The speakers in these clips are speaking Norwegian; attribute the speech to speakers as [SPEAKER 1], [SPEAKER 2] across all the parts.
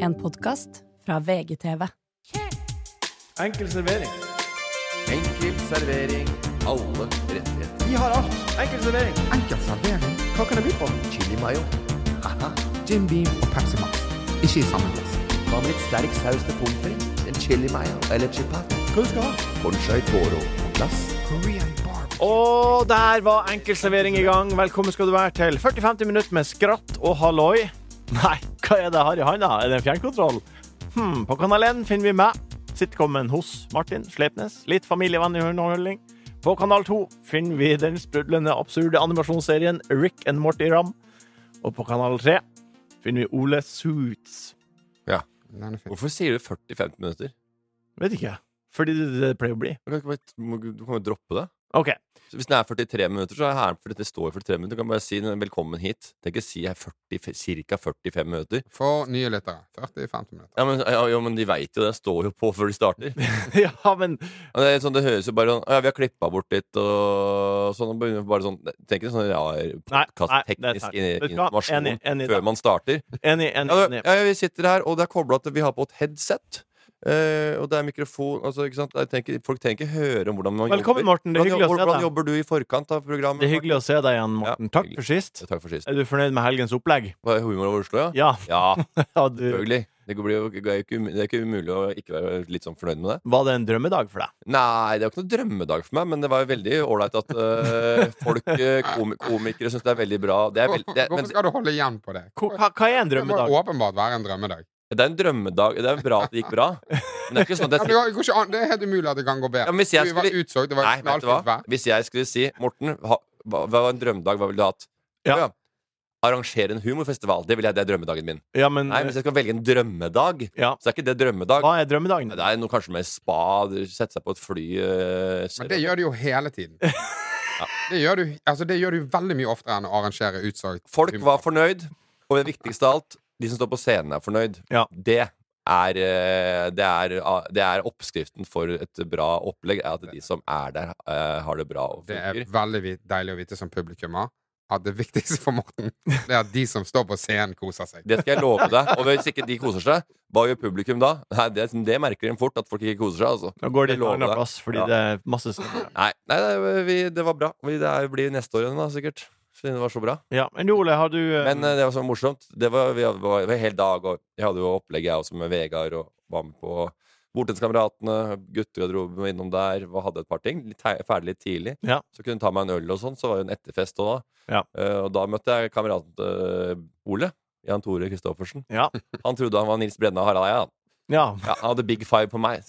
[SPEAKER 1] En podkast fra VGTV.
[SPEAKER 2] Enkel servering.
[SPEAKER 3] Enkel servering. Alle rettigheter.
[SPEAKER 2] Vi har alt. Enkel servering.
[SPEAKER 4] Enkel servering,
[SPEAKER 2] Hva kan jeg by på?
[SPEAKER 3] Chili mayo. Haha.
[SPEAKER 4] Jim Beam og Pepsi Max. Ikke i samme glass.
[SPEAKER 3] Hva med litt sterk saus til pommes frites? En chili mayo eller chipat?
[SPEAKER 2] Hva du skal ha?
[SPEAKER 3] Conchai toro på glass.
[SPEAKER 4] Korean barb.
[SPEAKER 2] Og der var enkel servering i gang. Velkommen skal du være til 40-50 minutter med skratt og halloi. Nei, hva er det jeg har i handa? Er det en fjernkontroll? Hm, på Kanal 1 finner vi meg. Sitcomen hos Martin Slepnes. Litt familievennlig underholdning. På Kanal 2 finner vi den sprudlende, absurde animasjonsserien Rick and Morty Ram. Og på Kanal 3 finner vi Ole Suits.
[SPEAKER 4] Den er fin.
[SPEAKER 5] Hvorfor sier du 40-50 minutter?
[SPEAKER 2] Vet ikke. Fordi det, det pleier å bli.
[SPEAKER 5] Du kan, ikke bare, du må- du kan jo droppe det.
[SPEAKER 2] OK.
[SPEAKER 5] Så hvis den er 43 minutter, så er den her, for det står jo 43 minutter. Du kan bare si den er 'velkommen hit'. Det er ikke å si jeg er 40, ca. 45 minutter.
[SPEAKER 4] For nye lyttere. 40-50 minutter.
[SPEAKER 5] Ja, men, ja, jo, men de veit jo det. Det står jo på før de starter.
[SPEAKER 2] ja, men
[SPEAKER 5] Og det, er sånn, det høres jo bare sånn Ja, vi har klippa bort litt og sånn. Og begynner bare sånn Tenk ikke sånn rar
[SPEAKER 2] nei, det er sant.
[SPEAKER 5] podkast-teknisk
[SPEAKER 2] Vet du hva?
[SPEAKER 5] informasjon
[SPEAKER 2] Enig, enig i det.
[SPEAKER 5] før man starter.
[SPEAKER 2] Enig, enig,
[SPEAKER 5] Ja,
[SPEAKER 2] enig.
[SPEAKER 5] ja, ja, vi sitter her, og det er kobla til Vi har på et headset. eh, og det er mikrofon altså, ikke sant? Jeg tenker, Folk trenger ikke høre om hvordan man
[SPEAKER 2] Velkommen,
[SPEAKER 5] jobber.
[SPEAKER 2] Morten. Det er
[SPEAKER 5] Hvordan-
[SPEAKER 2] hyggelig å se
[SPEAKER 5] Hvordan
[SPEAKER 2] deg.
[SPEAKER 5] jobber du i forkant av programmet?
[SPEAKER 2] Det er hyggelig å se deg igjen, Morten.
[SPEAKER 5] Ja,
[SPEAKER 2] Takk
[SPEAKER 5] hyggelig.
[SPEAKER 2] for sist.
[SPEAKER 5] Takk for sist.
[SPEAKER 2] Er du fornøyd med helgens opplegg?
[SPEAKER 5] Var det Humor over Oslo, ja?
[SPEAKER 2] Ja.
[SPEAKER 5] Ja,
[SPEAKER 2] ja du,
[SPEAKER 5] selvfølgelig. Det, blir jo, det, er jo ikke, um- det er ikke umulig å ikke være litt sånn fornøyd med det.
[SPEAKER 2] var det en drømmedag for deg?
[SPEAKER 5] Nei, det er jo ikke noen drømmedag for meg, men det var jo veldig ålreit at eh, folk, eh, kom, komikere, syns det er veldig bra. Det er, veld, det, er- men,
[SPEAKER 4] Hvorfor skal du holde igjen på det?
[SPEAKER 2] Hva, hva- hva er en
[SPEAKER 4] Det må
[SPEAKER 2] drømmedag?
[SPEAKER 4] åpenbart være en drømmedag.
[SPEAKER 5] det er en drømmedag. Det er bra at det gikk bra. Men det er ikke sånn at
[SPEAKER 4] Ja,
[SPEAKER 5] jeg
[SPEAKER 4] men det, går ikke an. det er helt umulig at det kan gå bedre.
[SPEAKER 5] Ja, men hvis jeg
[SPEAKER 4] vi var
[SPEAKER 5] skulle-
[SPEAKER 4] utsolgt, det var
[SPEAKER 5] Nei, vet du
[SPEAKER 4] knallfint
[SPEAKER 5] hva?
[SPEAKER 4] vær.
[SPEAKER 5] Hvis jeg skulle si Morten, ha, hva hva var en drømmedag? Hva ville du hatt?
[SPEAKER 2] Ja.
[SPEAKER 5] Arrangere en humorfestival. Det, vil jeg, det er drømmedagen min.
[SPEAKER 2] Ja, men
[SPEAKER 5] Nei, Hvis jeg skal velge en drømmedag,
[SPEAKER 2] ja.
[SPEAKER 5] så er ikke det drømmedag.
[SPEAKER 2] Hva er drømmedagen?
[SPEAKER 5] Det er noe kanskje med spa, sette seg på et fly eh,
[SPEAKER 4] Men det gjør du jo hele tiden. Det gjør, du, altså, det gjør du veldig mye oftere enn å arrangere utsolgt
[SPEAKER 5] Folk var fornøyd, og det viktigste av alt, de som står på scenen, er fornøyd.
[SPEAKER 2] Ja.
[SPEAKER 5] Det, er, eh, det, er, det er oppskriften for et bra opplegg, er at de som er der, eh, har det bra og
[SPEAKER 4] Det er
[SPEAKER 5] funker.
[SPEAKER 4] veldig vi- deilig å vite som publikummer at det viktigste for Morten Det er at de som står på scenen, koser seg.
[SPEAKER 5] Det skal jeg love deg. Og hvis ikke de koser seg, hva gjør publikum da? Nei, det, det merker de fort, at folk ikke koser seg, altså.
[SPEAKER 2] Nå går de
[SPEAKER 5] Jeg
[SPEAKER 2] til
[SPEAKER 5] lover
[SPEAKER 2] annen
[SPEAKER 5] deg.
[SPEAKER 2] plass fordi
[SPEAKER 5] Ja.
[SPEAKER 2] det er masse snø.
[SPEAKER 5] Nei, nei det, vi, det var bra. Vi, det er, blir neste år igjen, da, sikkert. Siden det var så bra.
[SPEAKER 2] Ja, men Ole, har du eh,
[SPEAKER 5] Men eh, det var så morsomt. Det var, vi hadde, var, var hel dag, og jeg hadde jo opplegg jeg også med Vegard, og var med på Bortenskameratene, guttegarderoben var innom der, og hadde et par ting. Litt tei- ferdig litt tidlig.
[SPEAKER 2] Ja.
[SPEAKER 5] Så kunne hun ta meg en øl og sånn, så var det en etterfest også da.
[SPEAKER 2] Ja.
[SPEAKER 5] Eh, og da møtte jeg kameraten til Ole, Jan Tore Kristoffersen.
[SPEAKER 2] Ja.
[SPEAKER 5] Han trodde han var Nils Brenna og Harald Eia. han.
[SPEAKER 2] ja.
[SPEAKER 5] Ja, han hadde big five på meg.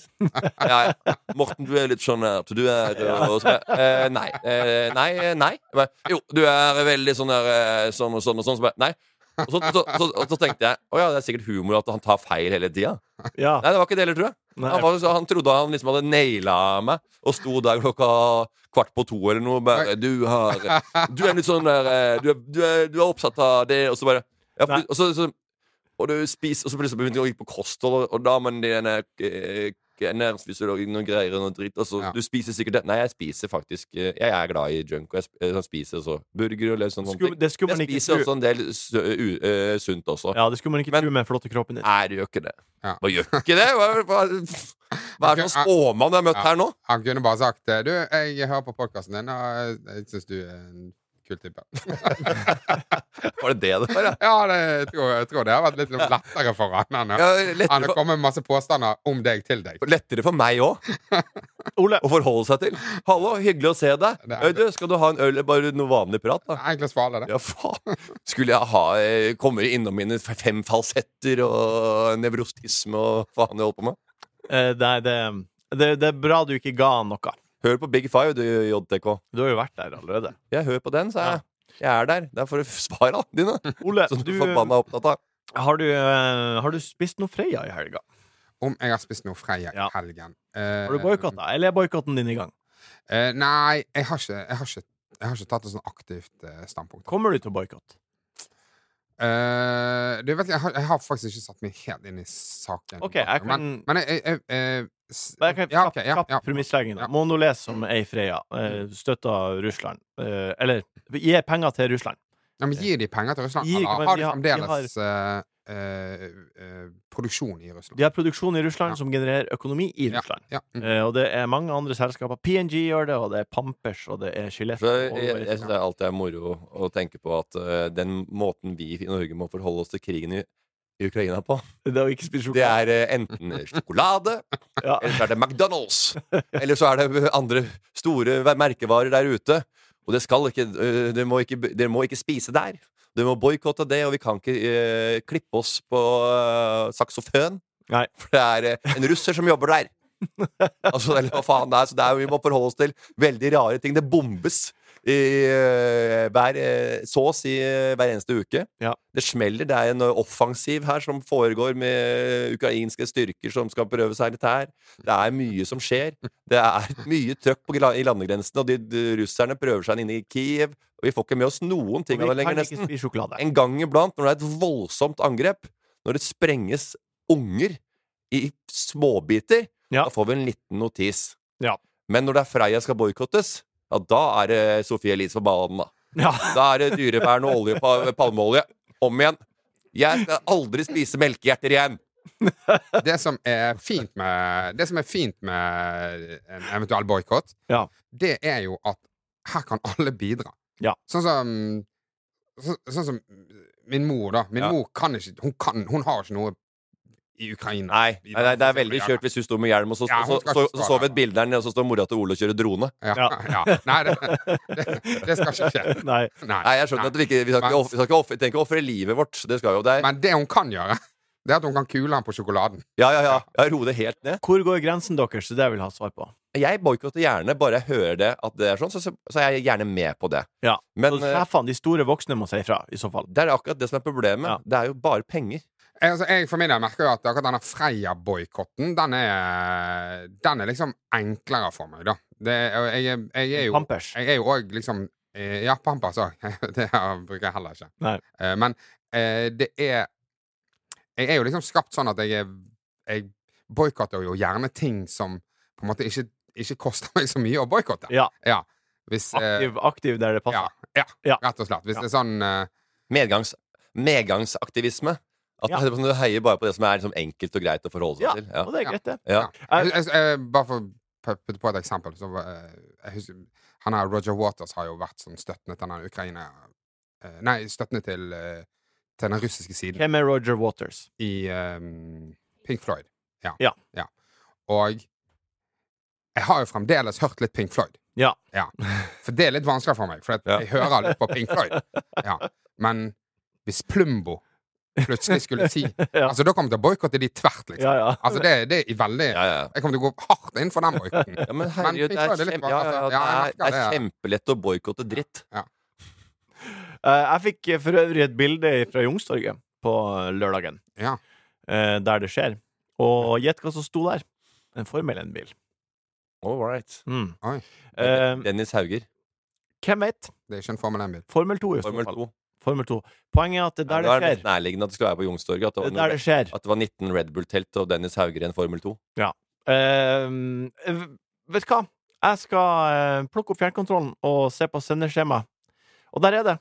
[SPEAKER 5] Ja, ja. Morten, du er litt sånn der Du er og, og, så bare, eh, Nei. Eh, nei. eh, nei. Jeg bare, jo, du er veldig sånn der eh, sånn og sånn og sånn. Så bare, nei. Og så, så, så, og så tenkte jeg å ja, det er sikkert humor at han tar feil hele tida.
[SPEAKER 2] ja.
[SPEAKER 5] Nei, det var ikke det heller, tror jeg.
[SPEAKER 2] Nei.
[SPEAKER 5] Han, var, så han trodde han liksom hadde naila meg, og sto der klokka kvart på to eller noe. Bare, du har Du er litt sånn der eh, Du er, du er, du er opptatt av det, og så bare ja, for,
[SPEAKER 2] Nei.
[SPEAKER 5] og, så, så, og du spiser Og så plutselig begynte jeg å gå på kosthold, og, og damen din er eh, ernæringsfysiolog og noe greier og noe dritt. Og så
[SPEAKER 4] Ja.
[SPEAKER 5] du spiser sikkert det. Nei, jeg spiser faktisk eh, Jeg er glad i junk, og jeg, sp- eh, sånn spiser også burger og litt sånn sånne
[SPEAKER 2] Skulle-
[SPEAKER 5] ting.
[SPEAKER 2] det skulle man
[SPEAKER 5] Jeg
[SPEAKER 2] ikke
[SPEAKER 5] spiser
[SPEAKER 2] tro.
[SPEAKER 5] også en del sø, u, eh, sunt også.
[SPEAKER 2] Ja, det skulle man ikke
[SPEAKER 5] Men-
[SPEAKER 2] tro med den flotte kroppen din.
[SPEAKER 5] Nei, du gjør ikke det.
[SPEAKER 4] Ja.
[SPEAKER 5] Hva gjør ikke det? Hva, hva, hva er det for spåmann jeg har møtt
[SPEAKER 4] Ja.
[SPEAKER 5] her nå?
[SPEAKER 4] Han kunne bare sagt eh, Du, jeg hører på podkasten din, og eh, jeg syns du er en kul type.
[SPEAKER 5] Var det det det var? Ja?
[SPEAKER 4] Ja, det, jeg, tror, jeg tror det har vært litt lettere for han enn å-
[SPEAKER 5] Ja,
[SPEAKER 4] enn
[SPEAKER 5] lettere,
[SPEAKER 4] å
[SPEAKER 5] for,
[SPEAKER 4] komme med masse påstander om deg til deg.
[SPEAKER 5] lettere for meg òg
[SPEAKER 2] Ole,
[SPEAKER 5] å forholde seg til. Hallo, hyggelig å se deg.
[SPEAKER 4] Det er
[SPEAKER 5] Du, skal du ha en øl eller bare noe vanlig prat? da?
[SPEAKER 4] Enklest for alle, det.
[SPEAKER 5] Ja, faen. Skulle jeg ha eh, Kommer innom mine f- fem falsetter og nevrostisme og faen jeg holder på med?
[SPEAKER 2] eh, det, er- det, det, det er bra du ikke ga han noe.
[SPEAKER 5] Hør på Big Five, du, JTK.
[SPEAKER 2] Du har jo vært der allerede.
[SPEAKER 5] Ja, hør på den, sa jeg. Jeg er der. Det er for svara dine.
[SPEAKER 2] Ole,
[SPEAKER 5] Som du
[SPEAKER 2] du,
[SPEAKER 5] er
[SPEAKER 2] har,
[SPEAKER 5] forbanna opptatt av.
[SPEAKER 2] du, eh, har du spist noe Freia i helga?
[SPEAKER 4] Om jeg har spist noe Freia i
[SPEAKER 2] Ja.
[SPEAKER 4] helgen.
[SPEAKER 2] Har du boikotta? Eller er boikotten din i gang?
[SPEAKER 4] Eh, nei, jeg har ikke, jeg har ikke, jeg har ikke tatt et sånn aktivt eh, standpunkt.
[SPEAKER 2] Kommer du til å boikotte?
[SPEAKER 4] Eh, du vet, jeg, har, jeg har faktisk ikke satt meg helt inn i saken.
[SPEAKER 2] Ok, jeg kan-
[SPEAKER 4] Men, men jeg, jeg, jeg, eh, s-
[SPEAKER 2] Men jeg kan
[SPEAKER 4] ja,
[SPEAKER 2] kjapt
[SPEAKER 4] ok, ja,
[SPEAKER 2] kjapt
[SPEAKER 4] ja.
[SPEAKER 2] premisslegging. da.
[SPEAKER 4] Ja.
[SPEAKER 2] Monolese som ei Freia eh, støtter Russland. Eh, eller gi penger til Russland.
[SPEAKER 4] Ja, men Gir de penger til Russland?
[SPEAKER 2] Gir-
[SPEAKER 4] Eller
[SPEAKER 2] men
[SPEAKER 4] har
[SPEAKER 2] de
[SPEAKER 4] de
[SPEAKER 2] har- de
[SPEAKER 4] fremdeles eh, eh, eh, produksjon i Russland.
[SPEAKER 2] De har produksjon i Russland
[SPEAKER 4] Ja.
[SPEAKER 2] som genererer økonomi i
[SPEAKER 4] Ja,
[SPEAKER 2] Russland.
[SPEAKER 4] ja. Mm.
[SPEAKER 2] Eh, og det er mange andre selskaper. PNG gjør det, og det er Pampers, og det er Gillette.
[SPEAKER 5] Så
[SPEAKER 2] og-
[SPEAKER 5] jeg jeg, jeg syns det er alltid er moro å tenke på at eh, den måten vi i Norge må forholde oss til krigen i, i Ukraina på,
[SPEAKER 2] Det å ikke spise
[SPEAKER 5] det
[SPEAKER 2] sjokolade.
[SPEAKER 5] er eh, enten sjokolade,
[SPEAKER 2] Ja.
[SPEAKER 5] eller så er det McDonald's, eller så er det andre store merkevarer der ute. Og det skal ikke eh, Dere må ikke, dere må ikke spise der. Dere må boikotte det, og vi kan ikke eh, klippe oss på eh, saksofon.
[SPEAKER 2] Nei.
[SPEAKER 5] For det er eh, en russer som jobber der. Altså, eller hva faen det er. Så det er, vi må forholde oss til veldig rare ting. Det bombes i, eh, hver, eh, så å si eh, hver eneste uke.
[SPEAKER 2] Ja.
[SPEAKER 5] Det smeller. Det er en eh, offensiv her som foregår med ukrainske styrker som skal prøve seg litt her. Det er mye som skjer. Det er mye trøkk på gla- i landegrensene, og de, de russerne prøver seg inn i Kiev. Og vi får ikke med oss noen ting av det
[SPEAKER 2] Vi kan
[SPEAKER 5] lenger,
[SPEAKER 2] ikke
[SPEAKER 5] nesten.
[SPEAKER 2] spise sjokolade.
[SPEAKER 5] En gang iblant, når det er et voldsomt angrep, når det sprenges unger i småbiter,
[SPEAKER 2] Ja.
[SPEAKER 5] da får vi en liten notis.
[SPEAKER 2] Ja.
[SPEAKER 5] Men når det er Freia skal boikottes, ja, da er det Sofie Elise på banen, da.
[SPEAKER 2] Ja.
[SPEAKER 5] Da er det dyrevern og olje på palmeolje. Om igjen. Jeg skal aldri spise melkehjerter igjen!
[SPEAKER 4] det som er fint med Det som er fint med en eventuell boikott,
[SPEAKER 2] Ja.
[SPEAKER 4] det er jo at her kan alle bidra.
[SPEAKER 2] Ja.
[SPEAKER 4] Sånn som så, Sånn som min mor, da. Min
[SPEAKER 5] Ja.
[SPEAKER 4] mor kan ikke Hun, kan, hun har ikke noe i Ukraina.
[SPEAKER 5] Nei, nei, nei, det er veldig kjørt hvis du står med hjelm, og så,
[SPEAKER 4] Ja,
[SPEAKER 5] så,
[SPEAKER 4] hun skal
[SPEAKER 5] så,
[SPEAKER 4] ikke
[SPEAKER 5] så,
[SPEAKER 4] svare.
[SPEAKER 5] så vi et bilde der nede, og så står mora til Ole og kjører drone.
[SPEAKER 4] Ja, ja.
[SPEAKER 2] Ja.
[SPEAKER 4] Nei, det, det, det skal ikke skje.
[SPEAKER 2] Nei.
[SPEAKER 4] Nei.
[SPEAKER 5] Nei, jeg skjønner at vi ikke vi skal ikke,
[SPEAKER 4] Men-
[SPEAKER 5] off- vi skal ikke off- vi trenger ikke ofre livet vårt. Det skal jo det er,
[SPEAKER 4] Men det hun kan gjøre, det er at hun kan kule han på sjokoladen.
[SPEAKER 5] Ja, ja, ja. Jeg roer det helt ned.
[SPEAKER 2] Hvor går grensen deres? Det er det jeg vil ha svar på.
[SPEAKER 5] Jeg boikotter gjerne, bare jeg hører det at det er sånn, så, så, så er jeg gjerne med på det.
[SPEAKER 2] Ja.
[SPEAKER 5] Men
[SPEAKER 2] Så
[SPEAKER 5] eh,
[SPEAKER 2] Sjefene, de store voksne, må si ifra, i så fall.
[SPEAKER 5] det er akkurat det som er problemet.
[SPEAKER 2] Ja.
[SPEAKER 5] Det er jo bare penger.
[SPEAKER 4] Jeg, altså, jeg for min del merker jo at akkurat denne Freia-boikotten, den, er- den er liksom enklere for meg, da. Det, og jeg, er- jeg er jo
[SPEAKER 2] Pampers.
[SPEAKER 4] Jeg er jo òg liksom eh, Ja, Pampers òg. det har- bruker jeg heller ikke.
[SPEAKER 2] Nei.
[SPEAKER 4] Eh, Men eh, det er Jeg er jo liksom skapt sånn at jeg er Jeg boikotter jo gjerne ting som på en måte ikke, ikke koster meg så mye å boikotte.
[SPEAKER 2] Ja.
[SPEAKER 4] Hvis eh,
[SPEAKER 2] Aktiv, aktiv der det passer.
[SPEAKER 4] ja, ja,
[SPEAKER 2] Ja.
[SPEAKER 4] rett og slett. Hvis
[SPEAKER 2] Ja.
[SPEAKER 4] det er sånn eh,
[SPEAKER 5] Medgangs, medgangsaktivisme. At
[SPEAKER 2] Ja.
[SPEAKER 5] Du heier bare på det som er liksom enkelt og greit å forholde seg
[SPEAKER 2] Ja,
[SPEAKER 5] til. Ja.
[SPEAKER 2] Og det er greit, det.
[SPEAKER 5] Ja.
[SPEAKER 4] Jeg, jeg, jeg, bare for å p- putte på et eksempel så, eh, jeg husker, han her, Roger Waters har jo vært sånn støttende til den Ukraina eh, Nei, støttende til, eh, til den russiske siden
[SPEAKER 2] Hvem er Roger Waters?
[SPEAKER 4] i eh, Pink Floyd. Ja.
[SPEAKER 2] Ja.
[SPEAKER 4] Og jeg har jo fremdeles hørt litt Pink Floyd.
[SPEAKER 2] Ja.
[SPEAKER 4] For det er litt vanskelig for meg, for at
[SPEAKER 5] Ja.
[SPEAKER 4] jeg hører litt på Pink Floyd. Ja. Men hvis Plumbo plutselig skulle si
[SPEAKER 2] Ja.
[SPEAKER 4] Altså, da kommer jeg til å boikotte de tvert, liksom.
[SPEAKER 2] Ja, ja.
[SPEAKER 4] Altså, det, det er i veldig
[SPEAKER 5] Ja, ja.
[SPEAKER 4] jeg kommer til å gå hardt inn for den boikotten.
[SPEAKER 5] Ja, men
[SPEAKER 4] Men
[SPEAKER 5] herregud,
[SPEAKER 4] Pink
[SPEAKER 5] det er,
[SPEAKER 4] Floyd er litt
[SPEAKER 5] kjempe,
[SPEAKER 4] bra,
[SPEAKER 5] ja,
[SPEAKER 4] altså.
[SPEAKER 5] ja, ja,
[SPEAKER 4] Ja,
[SPEAKER 5] det
[SPEAKER 4] jeg
[SPEAKER 5] er, det
[SPEAKER 4] merker
[SPEAKER 5] er
[SPEAKER 4] det.
[SPEAKER 5] kjempelett å boikotte dritt.
[SPEAKER 2] Eh, Jeg fikk eh, for øvrig et bilde fra Youngstorget på lørdagen,
[SPEAKER 4] Ja.
[SPEAKER 2] eh, der det skjer. Og gjett hva som sto der? En Formel 1-bil.
[SPEAKER 5] All right.
[SPEAKER 2] Mm.
[SPEAKER 4] Oi.
[SPEAKER 2] Eh,
[SPEAKER 5] Mm. Dennis Hauger,
[SPEAKER 2] hvem vet?
[SPEAKER 4] Det er ikke en Formel 1-bil.
[SPEAKER 2] Formel 2, i så
[SPEAKER 5] Formel
[SPEAKER 2] fall.
[SPEAKER 5] 2.
[SPEAKER 2] Formel 2. Poenget er at det er
[SPEAKER 5] Ja,
[SPEAKER 2] der
[SPEAKER 5] da
[SPEAKER 2] det
[SPEAKER 5] er det nesten
[SPEAKER 2] skjer.
[SPEAKER 5] nærliggende at det skulle være på Youngstorget. At,
[SPEAKER 2] Det
[SPEAKER 5] det
[SPEAKER 2] er
[SPEAKER 5] var
[SPEAKER 2] der
[SPEAKER 5] noe-
[SPEAKER 2] det skjer.
[SPEAKER 5] at det var 19 Red Bull-telt og Dennis Hauger i en Formel 2.
[SPEAKER 2] Eh, vet du hva? Jeg skal eh, plukke opp fjernkontrollen og se på sendeskjemaet. Og der er det.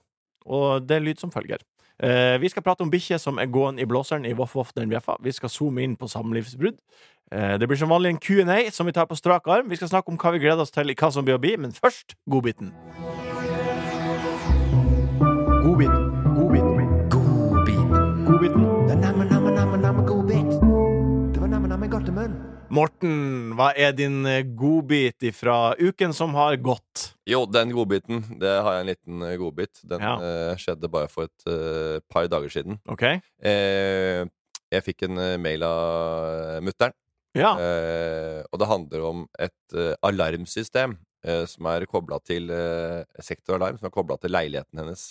[SPEAKER 2] Og det er lyd som følger. Eh, vi skal prate om bikkje som er gåen i blåseren i Voff Voff den bjeffa. Vi skal zoome inn på samlivsbrudd. Eh, det blir som vanlig en Q&A som vi tar på strak arm. Vi skal snakke om hva vi gleder oss til i Hva som blir å bli, men først godbiten. Godbiten. Godbiten. Godbiten. Morten, hva er din eh, godbit ifra uken som har gått?
[SPEAKER 5] Jo, den godbiten. Det har jeg en liten eh, godbit. Den
[SPEAKER 2] Ja.
[SPEAKER 5] eh, skjedde bare for et eh, par dager siden.
[SPEAKER 2] OK?
[SPEAKER 5] Eh, jeg fikk en eh, mail av mutter'n,
[SPEAKER 2] Ja.
[SPEAKER 5] eh, og det handler om et eh, alarmsystem eh, som er kobla til eh, sektoralarm, som er kobla til leiligheten hennes.